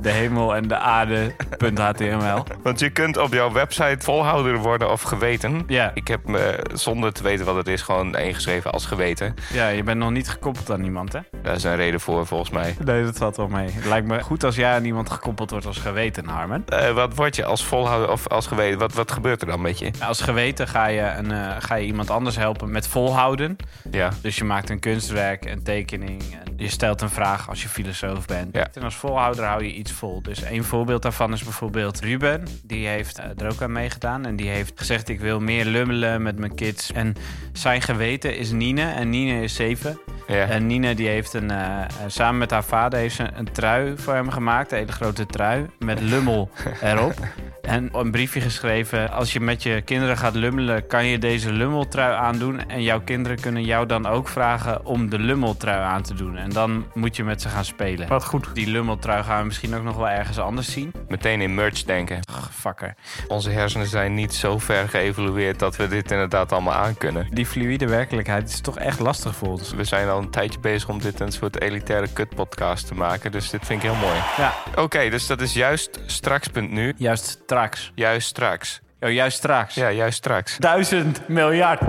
Speaker 7: De hemel en de aarde. HTML.
Speaker 1: Want je kunt op jouw website volhouder worden of geweten.
Speaker 7: Ja.
Speaker 1: Ik heb me zonder te weten wat het is gewoon ingeschreven als geweten.
Speaker 7: Ja, je bent nog niet gekoppeld aan iemand, hè?
Speaker 1: Daar is een reden voor volgens mij.
Speaker 7: Nee, dat valt wel mee. Het lijkt me goed als jij aan iemand gekoppeld wordt als geweten, Harmen.
Speaker 1: Eh, wat word je als volhouder of als geweten? Wat, wat gebeurt er dan met je?
Speaker 7: Als geweten ga je, een, eh, ga je iemand anders helpen met volhouden.
Speaker 1: Ja.
Speaker 7: Dus je maakt een kunstwerk, een tekening. En je stelt een vraag als je filosoof bent.
Speaker 1: Ja.
Speaker 7: En als volhouder hou je iets vol. Dus een voorbeeld daarvan is bijvoorbeeld Ruben. Die heeft eh, er ook aan meegedaan. En die heeft gezegd, ik wil meer lummelen met mijn kids. En zijn geweten is Nine. En Nine is zeven.
Speaker 1: ja.
Speaker 7: En Nina die heeft een, eh, eh, samen met haar vader heeft ze een trui voor hem gemaakt. Een hele grote trui met lummel erop. En een briefje geschreven. Als je met je kinderen gaat lummelen, kan je deze lummeltrui aandoen. En jouw kinderen kunnen jou dan ook vragen om de lummeltrui aan te doen. En dan moet je met ze gaan spelen.
Speaker 3: Wat goed.
Speaker 7: Die lummeltrui gaan we misschien ook nog wel ergens anders zien.
Speaker 1: Meteen in merch denken.
Speaker 7: Ach, fucker.
Speaker 1: Onze hersenen zijn niet zo ver geëvolueerd dat we dit inderdaad allemaal aankunnen.
Speaker 7: Die fluïde werkelijkheid is toch echt lastig voor ons.
Speaker 1: We zijn al een tijdje bezig om dit een soort elitaire kutpodcast te maken. Dus dit vind ik heel mooi.
Speaker 7: Ja,
Speaker 1: Oké, dus dat is juist straks.nu.
Speaker 7: juist straks.
Speaker 1: Juist straks.
Speaker 7: Oh, juist straks.
Speaker 1: Ja, juist straks.
Speaker 7: Duizend miljard.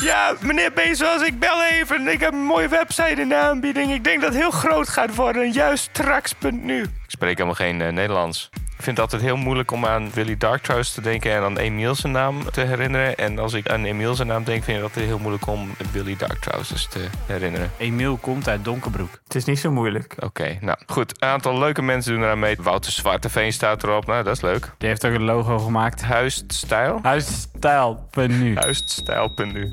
Speaker 4: Ja, meneer Bezos, ik bel even. Ik heb een mooie website in de aanbieding. Ik denk dat het heel groot gaat worden. Juist straks.nu.
Speaker 1: Ik spreek helemaal geen eh, Nederlands. Ik vind het altijd heel moeilijk om aan Willy Darktrouws te denken en aan Emiel zijn naam te herinneren. En als ik aan Emiel zijn naam denk, vind ik het altijd heel moeilijk om Willy Darktrouws dus te herinneren.
Speaker 7: Emiel komt uit Donkerbroek.
Speaker 3: Het is niet zo moeilijk.
Speaker 1: Oké, nou goed. Een aantal leuke mensen doen eraan mee. Wouter Zwarteveen staat erop. Nou, dat is leuk.
Speaker 7: Die heeft ook een logo gemaakt.
Speaker 1: Huisstijl.
Speaker 7: Huisstijl.nu.
Speaker 1: Huisstijl.nu.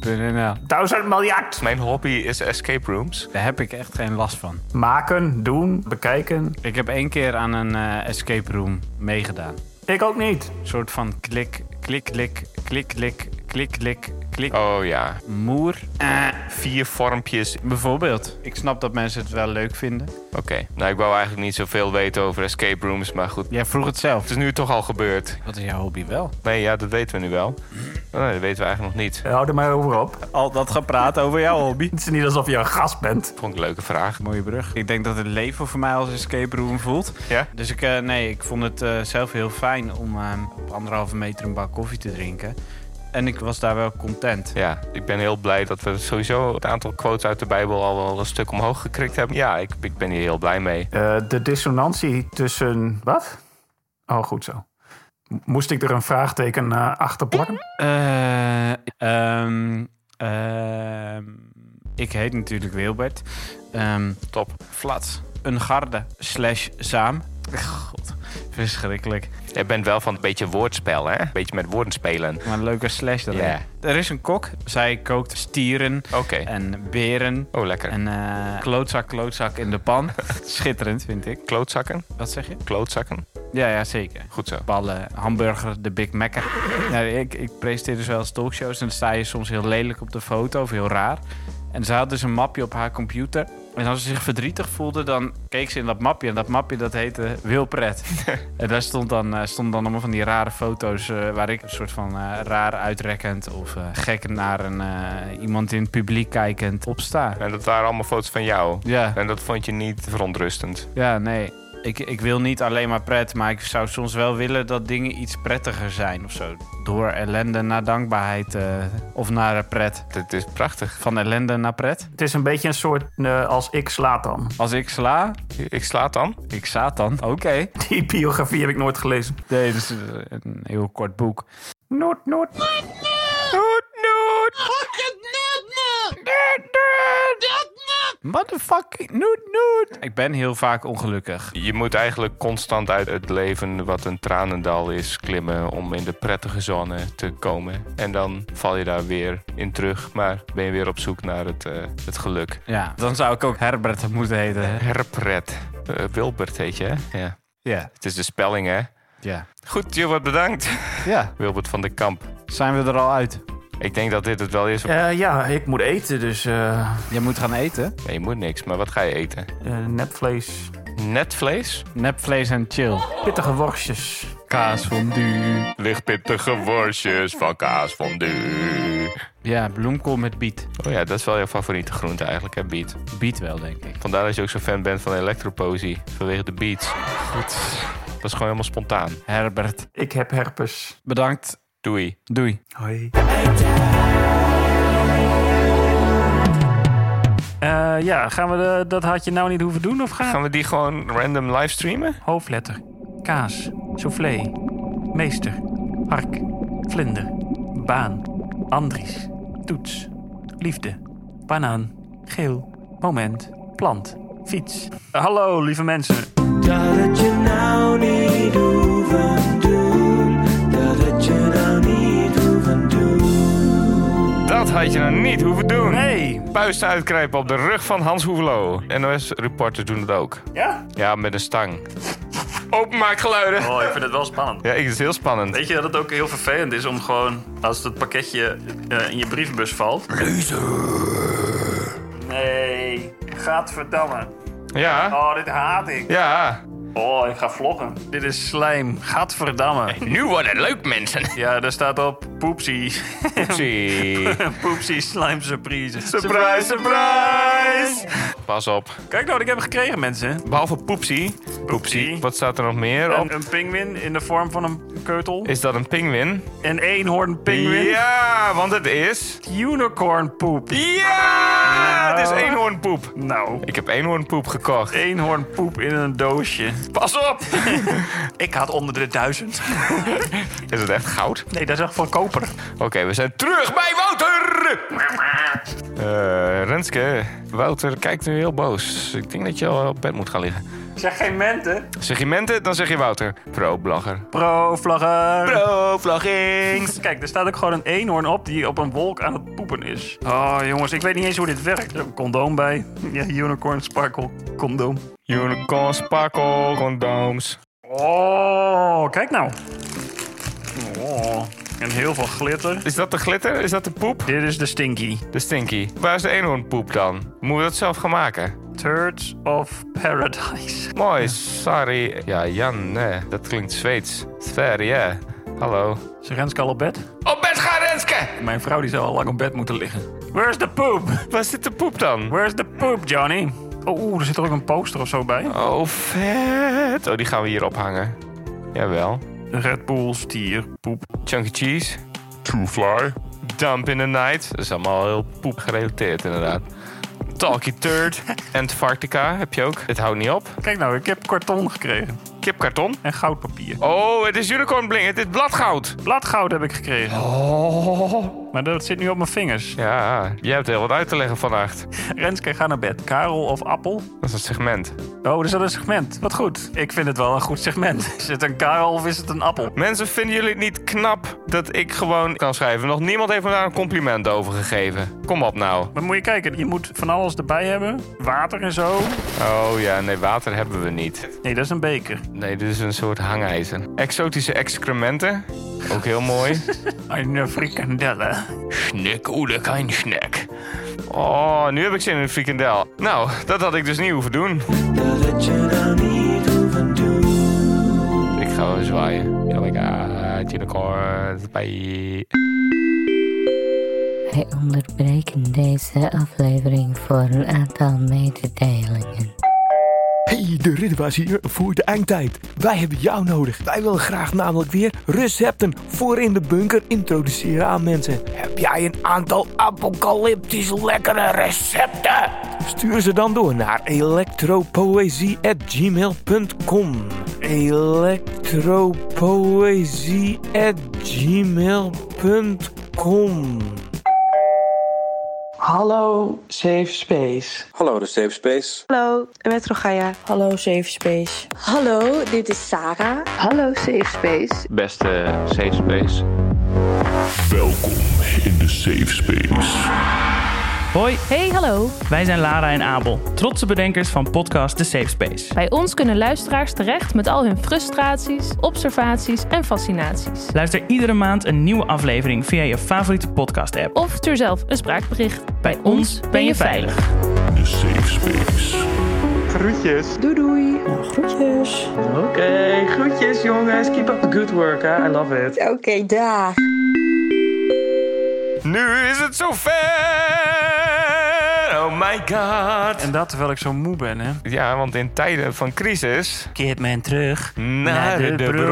Speaker 3: Duizend miljard.
Speaker 1: Mijn hobby is escape rooms.
Speaker 7: Daar heb ik echt geen last van.
Speaker 3: Maken, doen, bekijken.
Speaker 7: Ik heb één keer aan een eh, escape room meegedaan.
Speaker 3: Ik ook niet.
Speaker 7: Een soort van klik, klik, klik, klik, klik, klik, klik, klik.
Speaker 1: Oh ja,
Speaker 7: Moer. Eh,
Speaker 1: vier vormpjes.
Speaker 7: bijvoorbeeld. Ik snap dat mensen het wel leuk vinden.
Speaker 1: Oké, nou ik wou eigenlijk niet zoveel weten over escape rooms, maar goed.
Speaker 7: Jij vroeg het
Speaker 1: Het
Speaker 7: zelf.
Speaker 1: is nu toch al gebeurd.
Speaker 7: Wat is jouw hobby wel?
Speaker 1: Nee, ja, dat weten we nu wel. Oh, nee, dat weten we eigenlijk nog niet.
Speaker 3: Hou er maar over op.
Speaker 7: Al dat gepraat over jouw hobby.
Speaker 3: Het is niet alsof je een gast bent.
Speaker 1: Vond ik een leuke vraag.
Speaker 7: Mooie brug. Ik denk dat het leven voor mij als escape room voelt.
Speaker 1: Ja?
Speaker 7: Dus ik, eh, nee, ik vond het eh, zelf heel fijn om eh, op anderhalve meter een bak koffie te drinken. En ik was daar wel content.
Speaker 1: Ja, ik ben heel blij dat we sowieso het aantal quotes uit de Bijbel al wel een stuk omhoog gekrikt hebben. Ja, ik, ik ben hier heel blij mee.
Speaker 3: Eh, de dissonantie tussen. Wat? Oh, goed zo. M- Moest ik er een vraagteken eh, achter plakken?
Speaker 7: Eh, ehm, ehm, ik heet natuurlijk Wilbert. Ehm,
Speaker 1: Top.
Speaker 7: Flat. Een garde slash saam. God, verschrikkelijk.
Speaker 1: Je bent wel van een beetje woordspel, hè? Een beetje met woorden spelen.
Speaker 7: Maar een leuke slash erin.
Speaker 1: Ja.
Speaker 7: Er is een kok. Zij kookt stieren
Speaker 1: Oké.
Speaker 7: en beren.
Speaker 1: Oh, lekker.
Speaker 7: En eh, klootzak, klootzak in de pan. Schitterend, vind ik.
Speaker 1: Klootzakken?
Speaker 7: Wat zeg je?
Speaker 1: Klootzakken?
Speaker 7: Ja, ja, zeker.
Speaker 1: Goed zo.
Speaker 7: Ballen, hamburger, de Big Mac. Ja, ik, ik presenteer dus wel eens talkshows en dan sta je soms heel lelijk op de foto of heel raar. En ze had dus een mapje op haar computer. En als ze zich verdrietig voelde, dan keek ze in dat mapje. En dat mapje dat heette Wilpret. en daar stond dan, eh, stonden dan allemaal van die rare foto's... eh, waar ik een soort van eh, raar uitrekkend of eh, gek naar een, eh, iemand in het publiek kijkend op sta.
Speaker 1: En dat waren allemaal foto's van jou.
Speaker 7: Ja,
Speaker 1: En dat vond je niet verontrustend.
Speaker 7: ja, nee. Ik, ik wil niet alleen maar pret, maar ik zou soms wel willen dat dingen iets prettiger zijn of zo. Door ellende naar dankbaarheid eh, of naar eh, pret.
Speaker 1: Dit is prachtig.
Speaker 7: Van ellende naar pret.
Speaker 3: Het is een beetje een soort eh, als ik slaat dan.
Speaker 7: Als ik sla,
Speaker 1: Ik slaat dan.
Speaker 7: ik Satan. Oké.
Speaker 3: Die biografie heb ik nooit gelezen.
Speaker 7: Nee, dat is eh, een heel kort boek.
Speaker 3: Noot, noot.
Speaker 7: Motherfucking noot noot. Ik ben heel vaak ongelukkig.
Speaker 1: Je moet eigenlijk constant uit het leven wat een tranendal is klimmen om in de prettige zone te komen. En dan val je daar weer in terug, maar ben je weer op zoek naar het, eh, het geluk.
Speaker 7: Ja, dan zou ik ook Herbert moeten heten.
Speaker 1: Herpret. Eh, Wilbert heet je, hè? Ja.
Speaker 7: Ja,
Speaker 1: Het is de spelling, hè?
Speaker 7: ja.
Speaker 1: Goed, Gilbert, bedankt.
Speaker 7: Ja,
Speaker 1: Wilbert van den Kamp.
Speaker 7: zijn we er al uit?
Speaker 1: Ik denk dat dit het wel is.
Speaker 8: Eh, ja, ik moet eten, dus eh
Speaker 7: Je moet gaan eten.
Speaker 1: Nee, je moet niks, maar wat ga je eten?
Speaker 8: eh, nepvlees.
Speaker 1: Net vlees?
Speaker 7: Nepvlees en chill.
Speaker 8: Pittige worstjes.
Speaker 7: Kaas fondue.
Speaker 1: Lichtpittige worstjes van kaas fondue.
Speaker 7: Ja, bloemkool met biet.
Speaker 1: Oh ja, dat is wel jouw favoriete groente eigenlijk, hè, beat.
Speaker 7: Biet wel, denk ik.
Speaker 1: Vandaar dat je ook zo'n fan bent van Electroposie. Vanwege de beats. Goed. Dat is gewoon helemaal spontaan.
Speaker 7: Herbert,
Speaker 8: Ik heb herpes.
Speaker 7: bedankt.
Speaker 1: Doei.
Speaker 7: Doei.
Speaker 8: Hoi. Eh, ja, gaan we de- dat had je nou niet hoeven doen of gaan
Speaker 1: Gaan we die gewoon random livestreamen?
Speaker 8: Hoofdletter. Kaas. Soufflé. Meester. Hark. Vlinder. Baan. Andries. Toets. Liefde. Banaan. Geel. Moment. Plant. Fiets. Hallo, lieve mensen.
Speaker 2: Dat het je nou niet hoeven doen. Dat het je nou niet hoeven doen.
Speaker 1: Dat had je nou niet hoeven doen.
Speaker 8: Hey!
Speaker 1: Puisten uitkruipen op de rug van Hans Hoevelo. NOS-reporters doen het ook.
Speaker 8: Ja?
Speaker 1: Ja, met een stang. Openmaakgeluiden.
Speaker 3: Oh, ik vind het wel spannend.
Speaker 1: Ja, ik- het is heel spannend.
Speaker 3: Weet je dat het ook heel vervelend is om gewoon, als het pakketje eh, in je brievenbus valt.
Speaker 8: Nee. Gadverdamme.
Speaker 1: Ja,
Speaker 8: Oh, dit haat ik.
Speaker 1: ja.
Speaker 3: Oh, ik ga vloggen.
Speaker 8: Dit is slijm. Gadverdamme.
Speaker 1: Nu wordt het leuk, mensen.
Speaker 3: Ja, daar staat op poepsie.
Speaker 1: Zie.
Speaker 3: poepsie slime surprise.
Speaker 1: Surprise, surprise. Pas op.
Speaker 3: Kijk nou wat ik heb gekregen, mensen.
Speaker 1: Behalve Poepsie. Poepsie. Wat staat er nog meer op?
Speaker 3: Een, een pinguïn in de vorm van een keutel.
Speaker 1: Is dat een pinguïn?
Speaker 3: Een eenhoornpinguïn.
Speaker 1: Ja, want het is...
Speaker 3: Unicornpoep.
Speaker 1: Ja! Het is eenhoornpoep.
Speaker 3: Nou,
Speaker 1: Ik heb eenhoornpoep gekocht.
Speaker 3: eenhoornpoep in een doosje.
Speaker 1: Pas op!
Speaker 3: Ik had onder de duizend.
Speaker 1: Is het echt goud?
Speaker 3: Nee, dat is echt voor koper.
Speaker 1: Oké, we zijn terug bij Wouter! Ah. Eh Renske, Wouter kijkt nu heel boos. Ik denk dat je al op bed moet gaan liggen.
Speaker 8: Zeg geen menten.
Speaker 1: Zeg je mente, dan zeg je Wouter. Pro-blogger.
Speaker 3: Pro-vlaggen.
Speaker 1: Pro-vloggings!
Speaker 3: Kijk, er staat ook gewoon een eenhoorn op die op een wolk aan het poepen is. Oh, jongens, ik weet niet eens hoe dit werkt. Er is een condoom bij. Ja, unicorn sparkle. Condoom.
Speaker 1: Unicorn sparkle condooms.
Speaker 3: Oh, kijk nou. Oh, en heel veel glitter.
Speaker 1: Is dat de glitter? Is dat de poep?
Speaker 3: Dit is de stinky.
Speaker 1: De stinky. Waar is de eenhoornpoep dan? Moeten we dat zelf gaan maken?
Speaker 3: Turds of Paradise.
Speaker 1: Mooi, sorry. Ja, Jan, nee. Dat klinkt Zweeds. Sverige. Hallo.
Speaker 3: Is Renske dus al op bed?
Speaker 1: Op bed gaan, Renske!
Speaker 3: Mijn vrouw die zou al lang op bed moeten liggen. Where's the poop?
Speaker 1: Waar zit de poep dan?
Speaker 3: Where's the poop, Johnny? Oh, er zit er ook een poster of zo bij.
Speaker 1: Oh, vet. Oh, die gaan we hier ophangen. Jawel.
Speaker 3: Red Bull, stier, poep.
Speaker 1: Chunky cheese. True fly. Dump in the night. Dat is allemaal heel poep gerelateerd, inderdaad. Talkie turd. Antarctica heb je ook. Het houdt niet op.
Speaker 3: Kijk nou, ik heb karton gekregen.
Speaker 1: Kipkarton.
Speaker 3: En goudpapier.
Speaker 1: Oh, het is unicornbling. Het is bladgoud.
Speaker 3: Bladgoud heb ik gekregen. Maar dat zit nu op mijn vingers.
Speaker 1: Ja, jij hebt heel wat uit te leggen vannacht.
Speaker 3: Renske, ga naar bed. Karel of appel?
Speaker 1: Dat is een segment.
Speaker 3: Oh, dus dat is een segment. Wat goed. Ik vind het wel een goed segment. Is het een karel of is het een appel?
Speaker 1: Mensen, vinden jullie het niet knap dat ik gewoon kan schrijven? Nog niemand heeft me daar een compliment over gegeven. Kom op nou.
Speaker 3: Maar moet je kijken, je moet van alles erbij hebben. Water en zo.
Speaker 1: Oh ja, nee, water hebben we niet.
Speaker 3: Nee, dat is een beker.
Speaker 1: Nee, dit is een soort hangijzer. Exotische excrementen. Ook heel mooi.
Speaker 3: Een eh, frikandelle.
Speaker 1: Schnik, oele, kein snack. Oh, nu heb ik zin in een frikandel. Nou, dat had ik dus niet hoeven doen.
Speaker 2: Dat het je nou niet hoeven doen.
Speaker 1: Ik ga wel zwaaien. Oh my god, unicorn. Bye.
Speaker 9: Wij onderbreken deze aflevering voor een aantal mededelingen.
Speaker 10: Hey, de Ridderbaas hier voor de eindtijd. Wij hebben jou nodig. Wij willen graag namelijk weer recepten voor in de bunker introduceren aan mensen. Heb jij een aantal apocalyptisch lekkere recepten? Stuur ze dan door naar electropoëzie@gmail.com. electropoëzie@gmail.com.
Speaker 11: Hallo Safe Space.
Speaker 12: Hallo de Safe Space.
Speaker 11: Hallo Metro Gaia. Hallo Safe Space. Hallo, dit is Sarah. Hallo Safe Space.
Speaker 1: Beste safe space.
Speaker 6: Welkom in de safe space.
Speaker 13: Hoi,
Speaker 10: Hey, hallo.
Speaker 13: wij zijn Lara en Abel, trotse bedenkers van podcast The Safe Space.
Speaker 10: Bij ons kunnen luisteraars terecht met al hun frustraties, observaties en fascinaties.
Speaker 13: Luister iedere maand een nieuwe aflevering via je favoriete podcast-app.
Speaker 10: Of stuur zelf een spraakbericht.
Speaker 13: Bij ons ben je veilig.
Speaker 14: De safe space.
Speaker 15: Groetjes. Doei doei. Nou, groetjes. Oké, groetjes jongens. Keep up the good work, hè. I love it.
Speaker 11: Oké, dag.
Speaker 1: Nu is het zover! Oh my god!
Speaker 3: En dat terwijl ik zo moe ben, hè?
Speaker 1: Ja, want in tijden van crisis...
Speaker 16: Keert men terug naar,
Speaker 1: Naar de,
Speaker 16: de
Speaker 1: bron.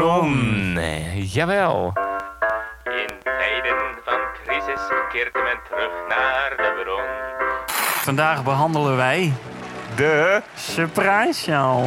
Speaker 16: bron.
Speaker 1: Jawel.
Speaker 17: In tijden van crisis keert men terug naar de bron.
Speaker 3: Vandaag behandelen wij...
Speaker 1: De...
Speaker 3: Surprise show.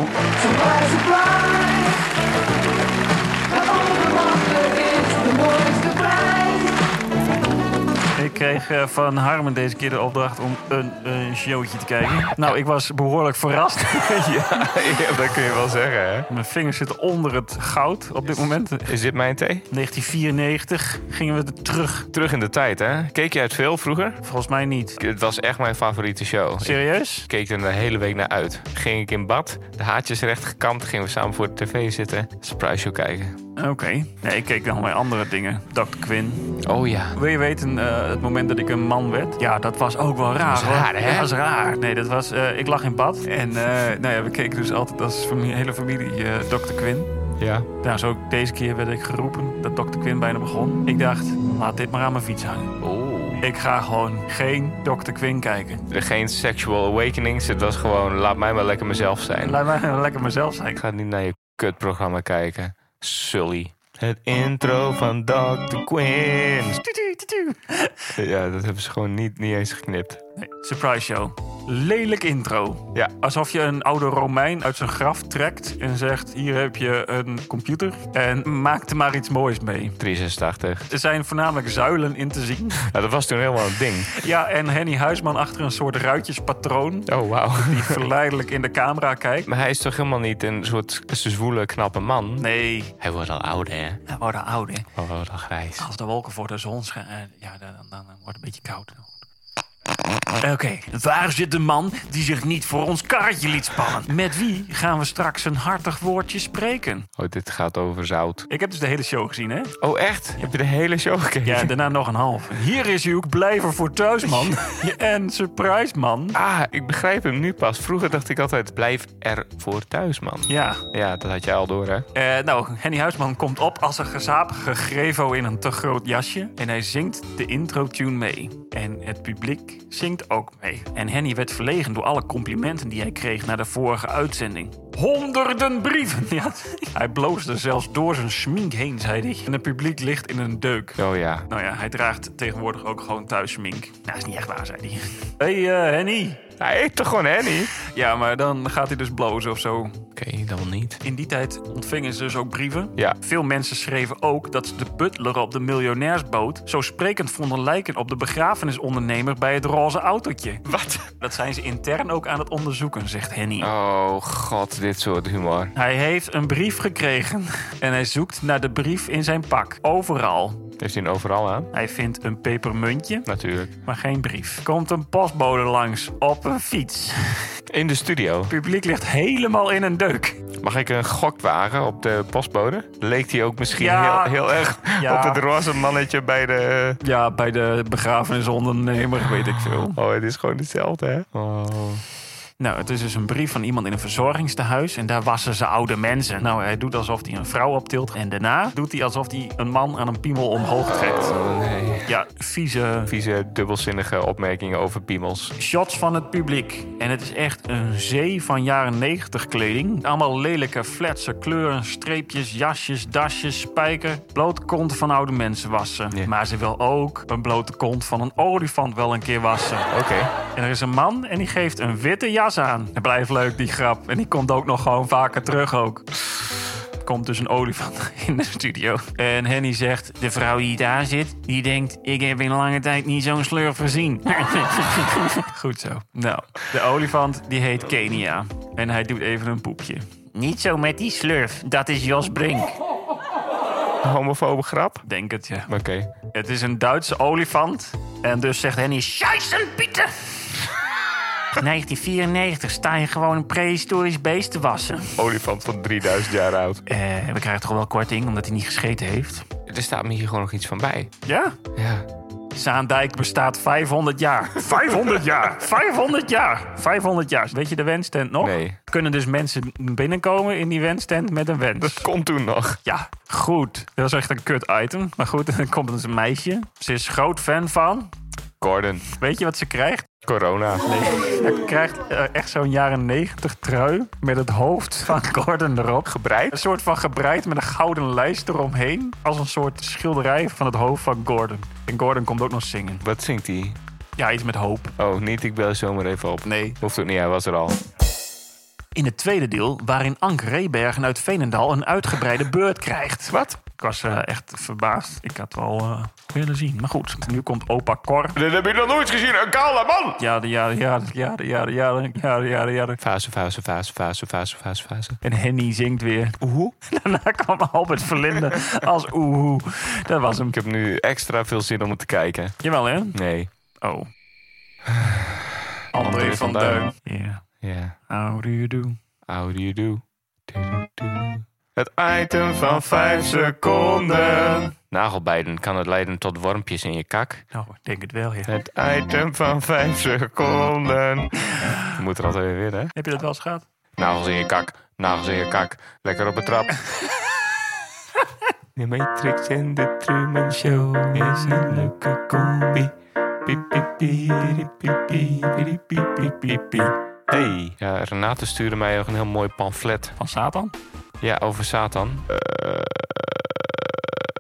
Speaker 3: Ik kreeg eh, van Harmen deze keer de opdracht om een, een showtje te kijken. Nou, ik was behoorlijk verrast.
Speaker 1: ja, dat kun je wel zeggen, hè?
Speaker 3: Mijn vingers zitten onder het goud op dit moment.
Speaker 1: Is dit mijn thee?
Speaker 3: 1994 gingen we er terug.
Speaker 1: Terug in de tijd, hè? Keek jij het veel vroeger?
Speaker 3: Volgens mij niet.
Speaker 1: Het was echt mijn favoriete show.
Speaker 3: Serieus?
Speaker 1: Ik keek er de hele week naar uit. Ging ik in bad, de haartjes recht gekamd, gingen we samen voor de tv zitten. Surprise show kijken.
Speaker 3: Oké. Nee, ik keek nog bij andere dingen. Dr. Quinn.
Speaker 1: Oh ja.
Speaker 3: Wil je weten eh, het moment dat ik een man werd? Ja, dat was ook wel raar.
Speaker 1: Dat was
Speaker 3: hoor.
Speaker 1: raar, hè?
Speaker 3: Dat was raar. Nee, dat was... eh, ik lag in bad. En eh, nou ja, we keken dus altijd als familie, hele familie eh, Dr. Quinn.
Speaker 1: Ja.
Speaker 3: Nou, zo ook deze keer werd ik geroepen dat Dr. Quinn bijna begon. Ik dacht, laat dit maar aan mijn fiets hangen.
Speaker 1: Oh.
Speaker 3: Ik ga gewoon geen Dr. Quinn kijken.
Speaker 1: Eh, Geen sexual awakenings, het was gewoon laat mij maar lekker mezelf zijn.
Speaker 3: Laat mij wel lekker mezelf zijn.
Speaker 1: Ik ga niet naar je kutprogramma kijken. Sully. Het intro van Dr. Quinn. Ja, dat hebben ze gewoon niet, niet eens geknipt.
Speaker 3: Nee, Surprise show. Lelijk intro.
Speaker 1: Ja.
Speaker 3: Alsof je een oude Romein uit zijn graf trekt en zegt: Hier heb je een computer en maak er maar iets moois mee.
Speaker 1: 386.
Speaker 3: Er zijn voornamelijk zuilen in te zien.
Speaker 1: Ja, Nou, dat was toen helemaal een ding.
Speaker 3: Ja, en Henny Huisman achter een soort ruitjespatroon.
Speaker 1: Oh, wauw.
Speaker 3: Die verleidelijk in de camera kijkt.
Speaker 1: Maar hij is toch helemaal niet een soort zwoele, knappe man?
Speaker 3: Nee.
Speaker 1: Hij wordt al ouder, hè?
Speaker 3: Hij wordt al ouder.
Speaker 1: Oh, wat al grijs.
Speaker 3: Als de wolken voor de zon schijnen, eh, ja, dan, dan, dan wordt het een beetje koud. Oké, waar zit de man die zich niet voor ons karretje liet spannen? Met wie gaan we straks een hartig woordje spreken?
Speaker 1: Oh, dit gaat over zout.
Speaker 3: Ik heb dus de hele show gezien, hè?
Speaker 1: Oh, echt? Heb je de hele show gekeken?
Speaker 3: Ja, daarna nog een half. Hier is uw blijver voor thuis, man. en surprise, man.
Speaker 1: Ah, ik begrijp hem nu pas. Vroeger dacht ik altijd, blijf er voor thuis, man.
Speaker 3: Ja.
Speaker 1: Ja, dat had jij al door, hè?
Speaker 3: Eh, nou, Henny Huisman komt op als een gezapige grevo in een te groot jasje. En hij zingt de intro-tune mee. En het publiek zingt ook mee. En Henny werd verlegen door alle complimenten die hij kreeg na de vorige uitzending. Honderden brieven! Ja, hij bloosde zelfs door zijn schmink heen, zei hij. En het publiek ligt in een deuk.
Speaker 1: Oh ja.
Speaker 3: Nou ja, hij draagt tegenwoordig ook gewoon thuis schmink. Nou, is niet echt waar, zei hij. Hé, eh, Henny!
Speaker 1: Hij heet toch gewoon Henny?
Speaker 3: Ja, maar dan gaat hij dus blozen of zo.
Speaker 1: Oké, dan wel niet.
Speaker 3: In die tijd ontvingen ze dus ook brieven.
Speaker 1: Ja.
Speaker 3: Veel mensen schreven ook dat ze de butler op de miljonairsboot zo sprekend vonden lijken op de begrafenisondernemer bij het roze autootje.
Speaker 1: Wat?
Speaker 3: Dat zijn ze intern ook aan het onderzoeken, zegt Henny.
Speaker 1: Oh god, dit soort humor.
Speaker 3: Hij heeft een brief gekregen en hij zoekt naar de brief in zijn pak. Overal.
Speaker 1: Heeft hij een overal aan?
Speaker 3: Hij vindt een pepermuntje,
Speaker 1: Natuurlijk.
Speaker 3: maar geen brief. Komt een postbode langs op een fiets.
Speaker 1: In de studio.
Speaker 3: Het publiek ligt helemaal in een deuk.
Speaker 1: Mag ik een gok wagen op de postbode? Leek hij ook misschien
Speaker 3: Ja.
Speaker 1: heel, heel erg
Speaker 3: Ja.
Speaker 1: op het roze mannetje bij de... eh,
Speaker 3: Ja, bij de begrafenisondernemer, weet ik veel.
Speaker 1: Oh, het is gewoon hetzelfde, hè? Oh.
Speaker 3: Nou, het is dus een brief van iemand in een verzorgingstehuis en daar wassen ze oude mensen. Nou, hij doet alsof hij een vrouw optilt en daarna doet hij alsof hij een man aan een piemel omhoog trekt.
Speaker 1: nee.
Speaker 3: Ja, vieze
Speaker 1: Vieze, dubbelzinnige opmerkingen over piemels.
Speaker 3: shots van het publiek. En het is echt een zee van jaren 90 kleding. Allemaal lelijke, flatse kleuren, streepjes, jasjes, dasjes, spijker. Blote kont van oude mensen wassen. Maar ze wil ook een blote kont van een olifant wel een keer wassen.
Speaker 1: Oké.
Speaker 3: En er is een man en die geeft een witte jas aan. Dat blijft leuk, die grap. En die komt ook nog gewoon vaker terug ook. Er Komt dus een olifant in de studio. En Henny zegt, de vrouw die daar zit, die denkt... ik heb in lange tijd niet zo'n slurf gezien. Goed zo. Nou, de olifant die heet Kenia. En hij doet even een poepje. Niet zo met die slurf. Dat is Jos Brink.
Speaker 1: Homofobe grap?
Speaker 3: Denk het, ja.
Speaker 1: Oké.
Speaker 3: Het is een Duitse olifant En dus zegt Henny, Scheisse Pieter! 1994 sta je gewoon een prehistorisch beest te wassen.
Speaker 1: Olifant van 3000 jaar oud.
Speaker 3: Eh, we krijgen toch wel korting omdat hij niet gescheten heeft.
Speaker 1: Er staat me hier gewoon nog iets van bij.
Speaker 3: Ja?
Speaker 1: Ja.
Speaker 3: Zaandijk bestaat 500 jaar. 500 jaar! 500 jaar! 500 jaar. Weet je de wenstent nog?
Speaker 1: Nee.
Speaker 3: Kunnen dus mensen binnenkomen in die wenstent met een wens. Dat
Speaker 1: kon toen nog.
Speaker 3: Ja, goed. Dat was echt een kut item. Maar goed, dan komt dus een meisje. Ze is groot fan van.
Speaker 1: Gordon.
Speaker 3: Weet je wat ze krijgt?
Speaker 1: Corona.
Speaker 3: Hij krijgt eh, echt zo'n jaren 90 trui met het hoofd van Gordon erop.
Speaker 1: Gebreid?
Speaker 3: Een soort van gebreid met een gouden lijst eromheen. Als een soort schilderij van het hoofd van Gordon. En Gordon komt ook nog zingen.
Speaker 1: Wat zingt hij?
Speaker 3: Ja, iets met hoop.
Speaker 1: Oh, niet ik bel zomaar even op.
Speaker 3: Nee.
Speaker 1: Hoeft ook niet, hij was er al.
Speaker 3: In het tweede deel, waarin Ank Rebergen uit Veenendaal een uitgebreide beurt krijgt.
Speaker 1: Wat?
Speaker 3: Ik was eh, echt verbaasd. Ik had wel eh, willen zien. Maar goed, nu komt opa Cor.
Speaker 1: Dat heb je nog nooit gezien, een kale man!
Speaker 3: Ja, de jaren, jaren, jaren, jaren, jaren, jaren, jaren, jaren.
Speaker 1: Fase, fase, fase, fase, fase, fase, fase.
Speaker 3: En Henny zingt weer. Oehoe. Daarna kwam Albert Verlinde als oehoe. Dat was hem.
Speaker 1: Ik heb nu extra veel zin om het te kijken.
Speaker 3: Jawel, hè?
Speaker 1: Nee.
Speaker 3: Oh.
Speaker 1: André van Duin.
Speaker 3: Ja.
Speaker 1: Ja.
Speaker 3: How do you do?
Speaker 1: How do you do? Het item van 5 seconden. Nagelbijden kan het leiden tot wormpjes in je kak.
Speaker 3: Nou, ik denk het wel, ja.
Speaker 1: Het item van 5 seconden. Je moet er altijd weer winnen, hè?
Speaker 3: Heb je dat wel eens gehad?
Speaker 1: Nagels in je kak, nagels in je kak. Lekker op de trap. De Matrix en de Truman Show is een leuke combi. Piep, piep, piep, piep, piep, piep, piep, piep, piep. Hey, ja, Renate stuurde mij nog een heel mooi pamflet.
Speaker 3: Van Satan?
Speaker 1: Ja, over Satan. Eh,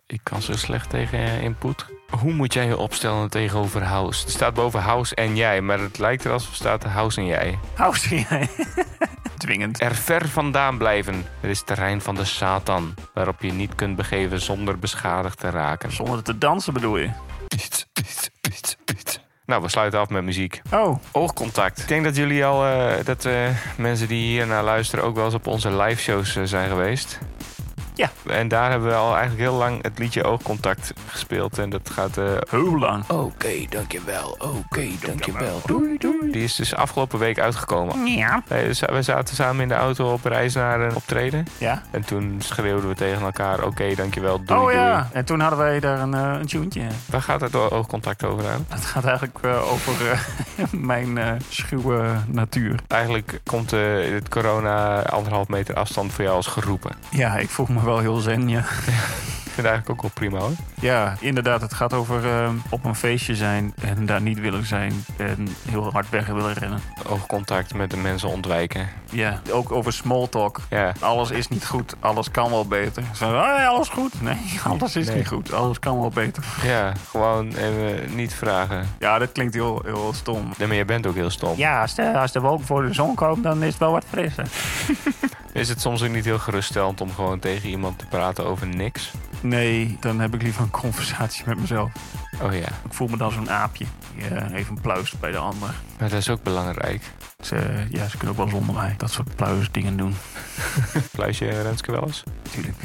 Speaker 1: ik kan zo slecht tegen eh, input. Hoe moet jij je opstellen tegenover House? Er staat boven House en jij, maar het lijkt er alsof staat House en jij.
Speaker 3: Hou ze jij? Oh, Dwingend.
Speaker 1: Er ver vandaan blijven. Het is terrein van de Satan, waarop je niet kunt begeven zonder beschadigd te raken.
Speaker 3: Zonder te dansen bedoel je?
Speaker 1: Nou, we sluiten af met muziek.
Speaker 3: Oh.
Speaker 1: Oogcontact. Ik denk dat jullie al, eh, dat eh, mensen die hier naar luisteren ook wel eens op onze live shows eh, zijn geweest.
Speaker 3: Ja.
Speaker 1: En daar hebben we al eigenlijk heel lang het liedje Oogcontact gespeeld. En dat gaat... eh,
Speaker 3: Hoe lang?
Speaker 1: Oké, dankjewel. Oké, dankjewel. Doei, doei. Die is dus afgelopen week uitgekomen.
Speaker 3: Ja.
Speaker 1: Wij- We zaten samen in de auto op reis naar een optreden.
Speaker 3: Ja.
Speaker 1: En toen schreeuwden we tegen elkaar, oké, dankjewel, doei,
Speaker 3: oh ja.
Speaker 1: doei.
Speaker 3: En toen hadden wij daar een, eh een tuentje.
Speaker 1: Waar gaat het o- oogcontact over aan?
Speaker 3: Het gaat eigenlijk eh, over eh, mijn eh, schuwe natuur.
Speaker 1: Eigenlijk komt eh het corona anderhalf meter afstand voor jou als geroepen.
Speaker 3: Ja, ik voel me wel heel zen, ja.
Speaker 1: Ik vind het eigenlijk ook wel prima hoor.
Speaker 3: Ja, inderdaad. Het gaat over eh, op een feestje zijn en daar niet willen zijn. En heel hard weg willen rennen.
Speaker 1: Oogcontact met de mensen ontwijken.
Speaker 3: Ja, ook over small talk.
Speaker 1: Ja.
Speaker 3: Alles is niet goed, alles kan wel beter. Zo, "Hey, alles goed? Nee, alles is
Speaker 1: Nee.
Speaker 3: niet goed, alles kan wel beter.
Speaker 1: Ja, gewoon even niet vragen.
Speaker 3: Ja, dat klinkt heel, heel stom.
Speaker 1: Nee, maar jij bent ook heel stom.
Speaker 3: Ja, als de, als de wolk voor de zon komt, dan is het wel wat frisser.
Speaker 1: Is het soms ook niet heel geruststellend om gewoon tegen iemand te praten over niks?
Speaker 3: Nee, dan heb ik liever een conversatie met mezelf.
Speaker 1: Oh ja,
Speaker 3: Ik voel me dan zo'n aapje. Ja, even pluist bij de ander.
Speaker 1: maar dat is ook belangrijk.
Speaker 3: Ze, ja, ze kunnen ook wel zonder mij dat soort pluisdingen doen.
Speaker 1: Fluis je eh, Renske wel eens?
Speaker 3: Tuurlijk.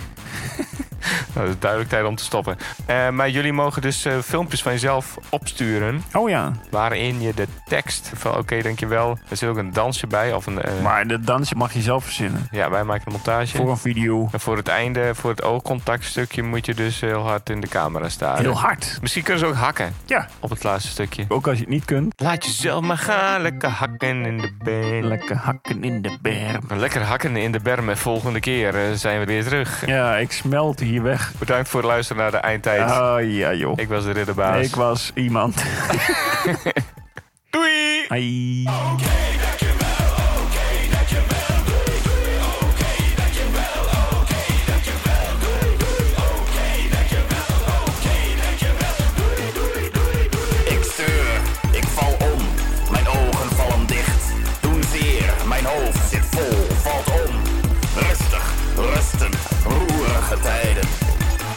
Speaker 1: Nou, dat is duidelijk tijd om te stoppen. Eh, maar jullie mogen dus eh, filmpjes van jezelf opsturen.
Speaker 3: Oh ja.
Speaker 1: Waarin je de tekst van oké, dankjewel. Er zit ook een dansje bij. Of een, eh,
Speaker 3: Maar dat dansje mag je zelf verzinnen.
Speaker 1: Ja, wij maken een montage.
Speaker 3: Voor een video.
Speaker 1: En voor het einde, voor het oogcontactstukje, moet je dus heel hard in de camera staan.
Speaker 3: Heel hard.
Speaker 1: Misschien kunnen ze ook hakken.
Speaker 3: Ja.
Speaker 1: Op het laatste stukje.
Speaker 3: Ook als je het niet kunt.
Speaker 1: Laat jezelf maar gaan, lekker hakken in de berm.
Speaker 3: Lekker hakken in de berm.
Speaker 1: Lekker hakken in de berm. En volgende keer eh, zijn we weer terug.
Speaker 3: Ja, ik smelt hier weg.
Speaker 1: Bedankt voor het luisteren naar de eindtijd.
Speaker 3: Ah ja, joh.
Speaker 1: Ik was de ridderbaas.
Speaker 3: Ik was iemand.
Speaker 1: Doei!
Speaker 3: Hoi.
Speaker 2: Ik steur, ik val om, mijn ogen vallen dicht. Doen zeer, mijn hoofd zit vol, valt om. Rustig, rusten, roerige tijden.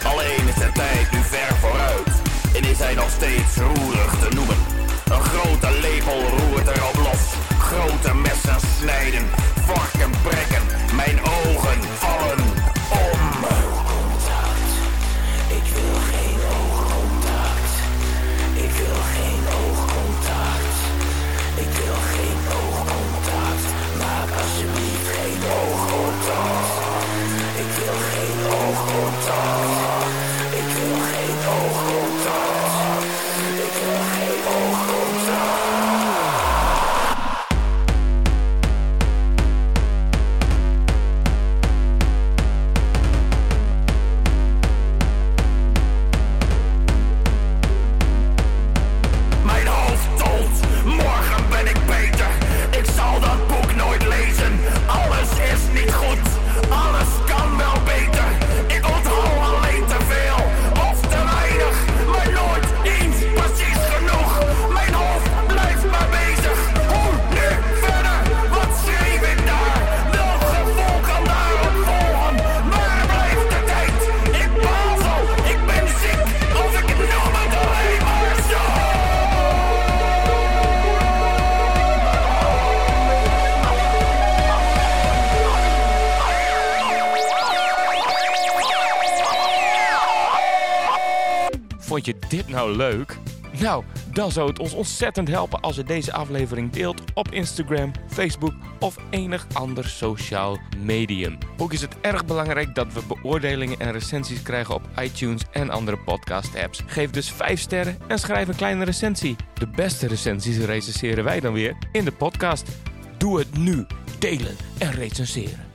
Speaker 2: Alleen is de tijd nu ver vooruit en is hij nog steeds roerig te noemen. Een grote lepel roert erop los, grote messen snijden, varken prikken, mijn ogen vallen om. Ik wil geen oogcontact. Ik wil geen
Speaker 1: Vond je dit nou leuk? Nou, dan zou het ons ontzettend helpen als je deze aflevering deelt op Instagram, Facebook of enig ander sociaal medium. Ook is het erg belangrijk dat we beoordelingen en recensies krijgen op iTunes en andere podcast-apps. Geef dus 5 sterren en schrijf een kleine recensie. De beste recensies recenseren wij dan weer in de podcast. Doe het nu. Delen en recenseren.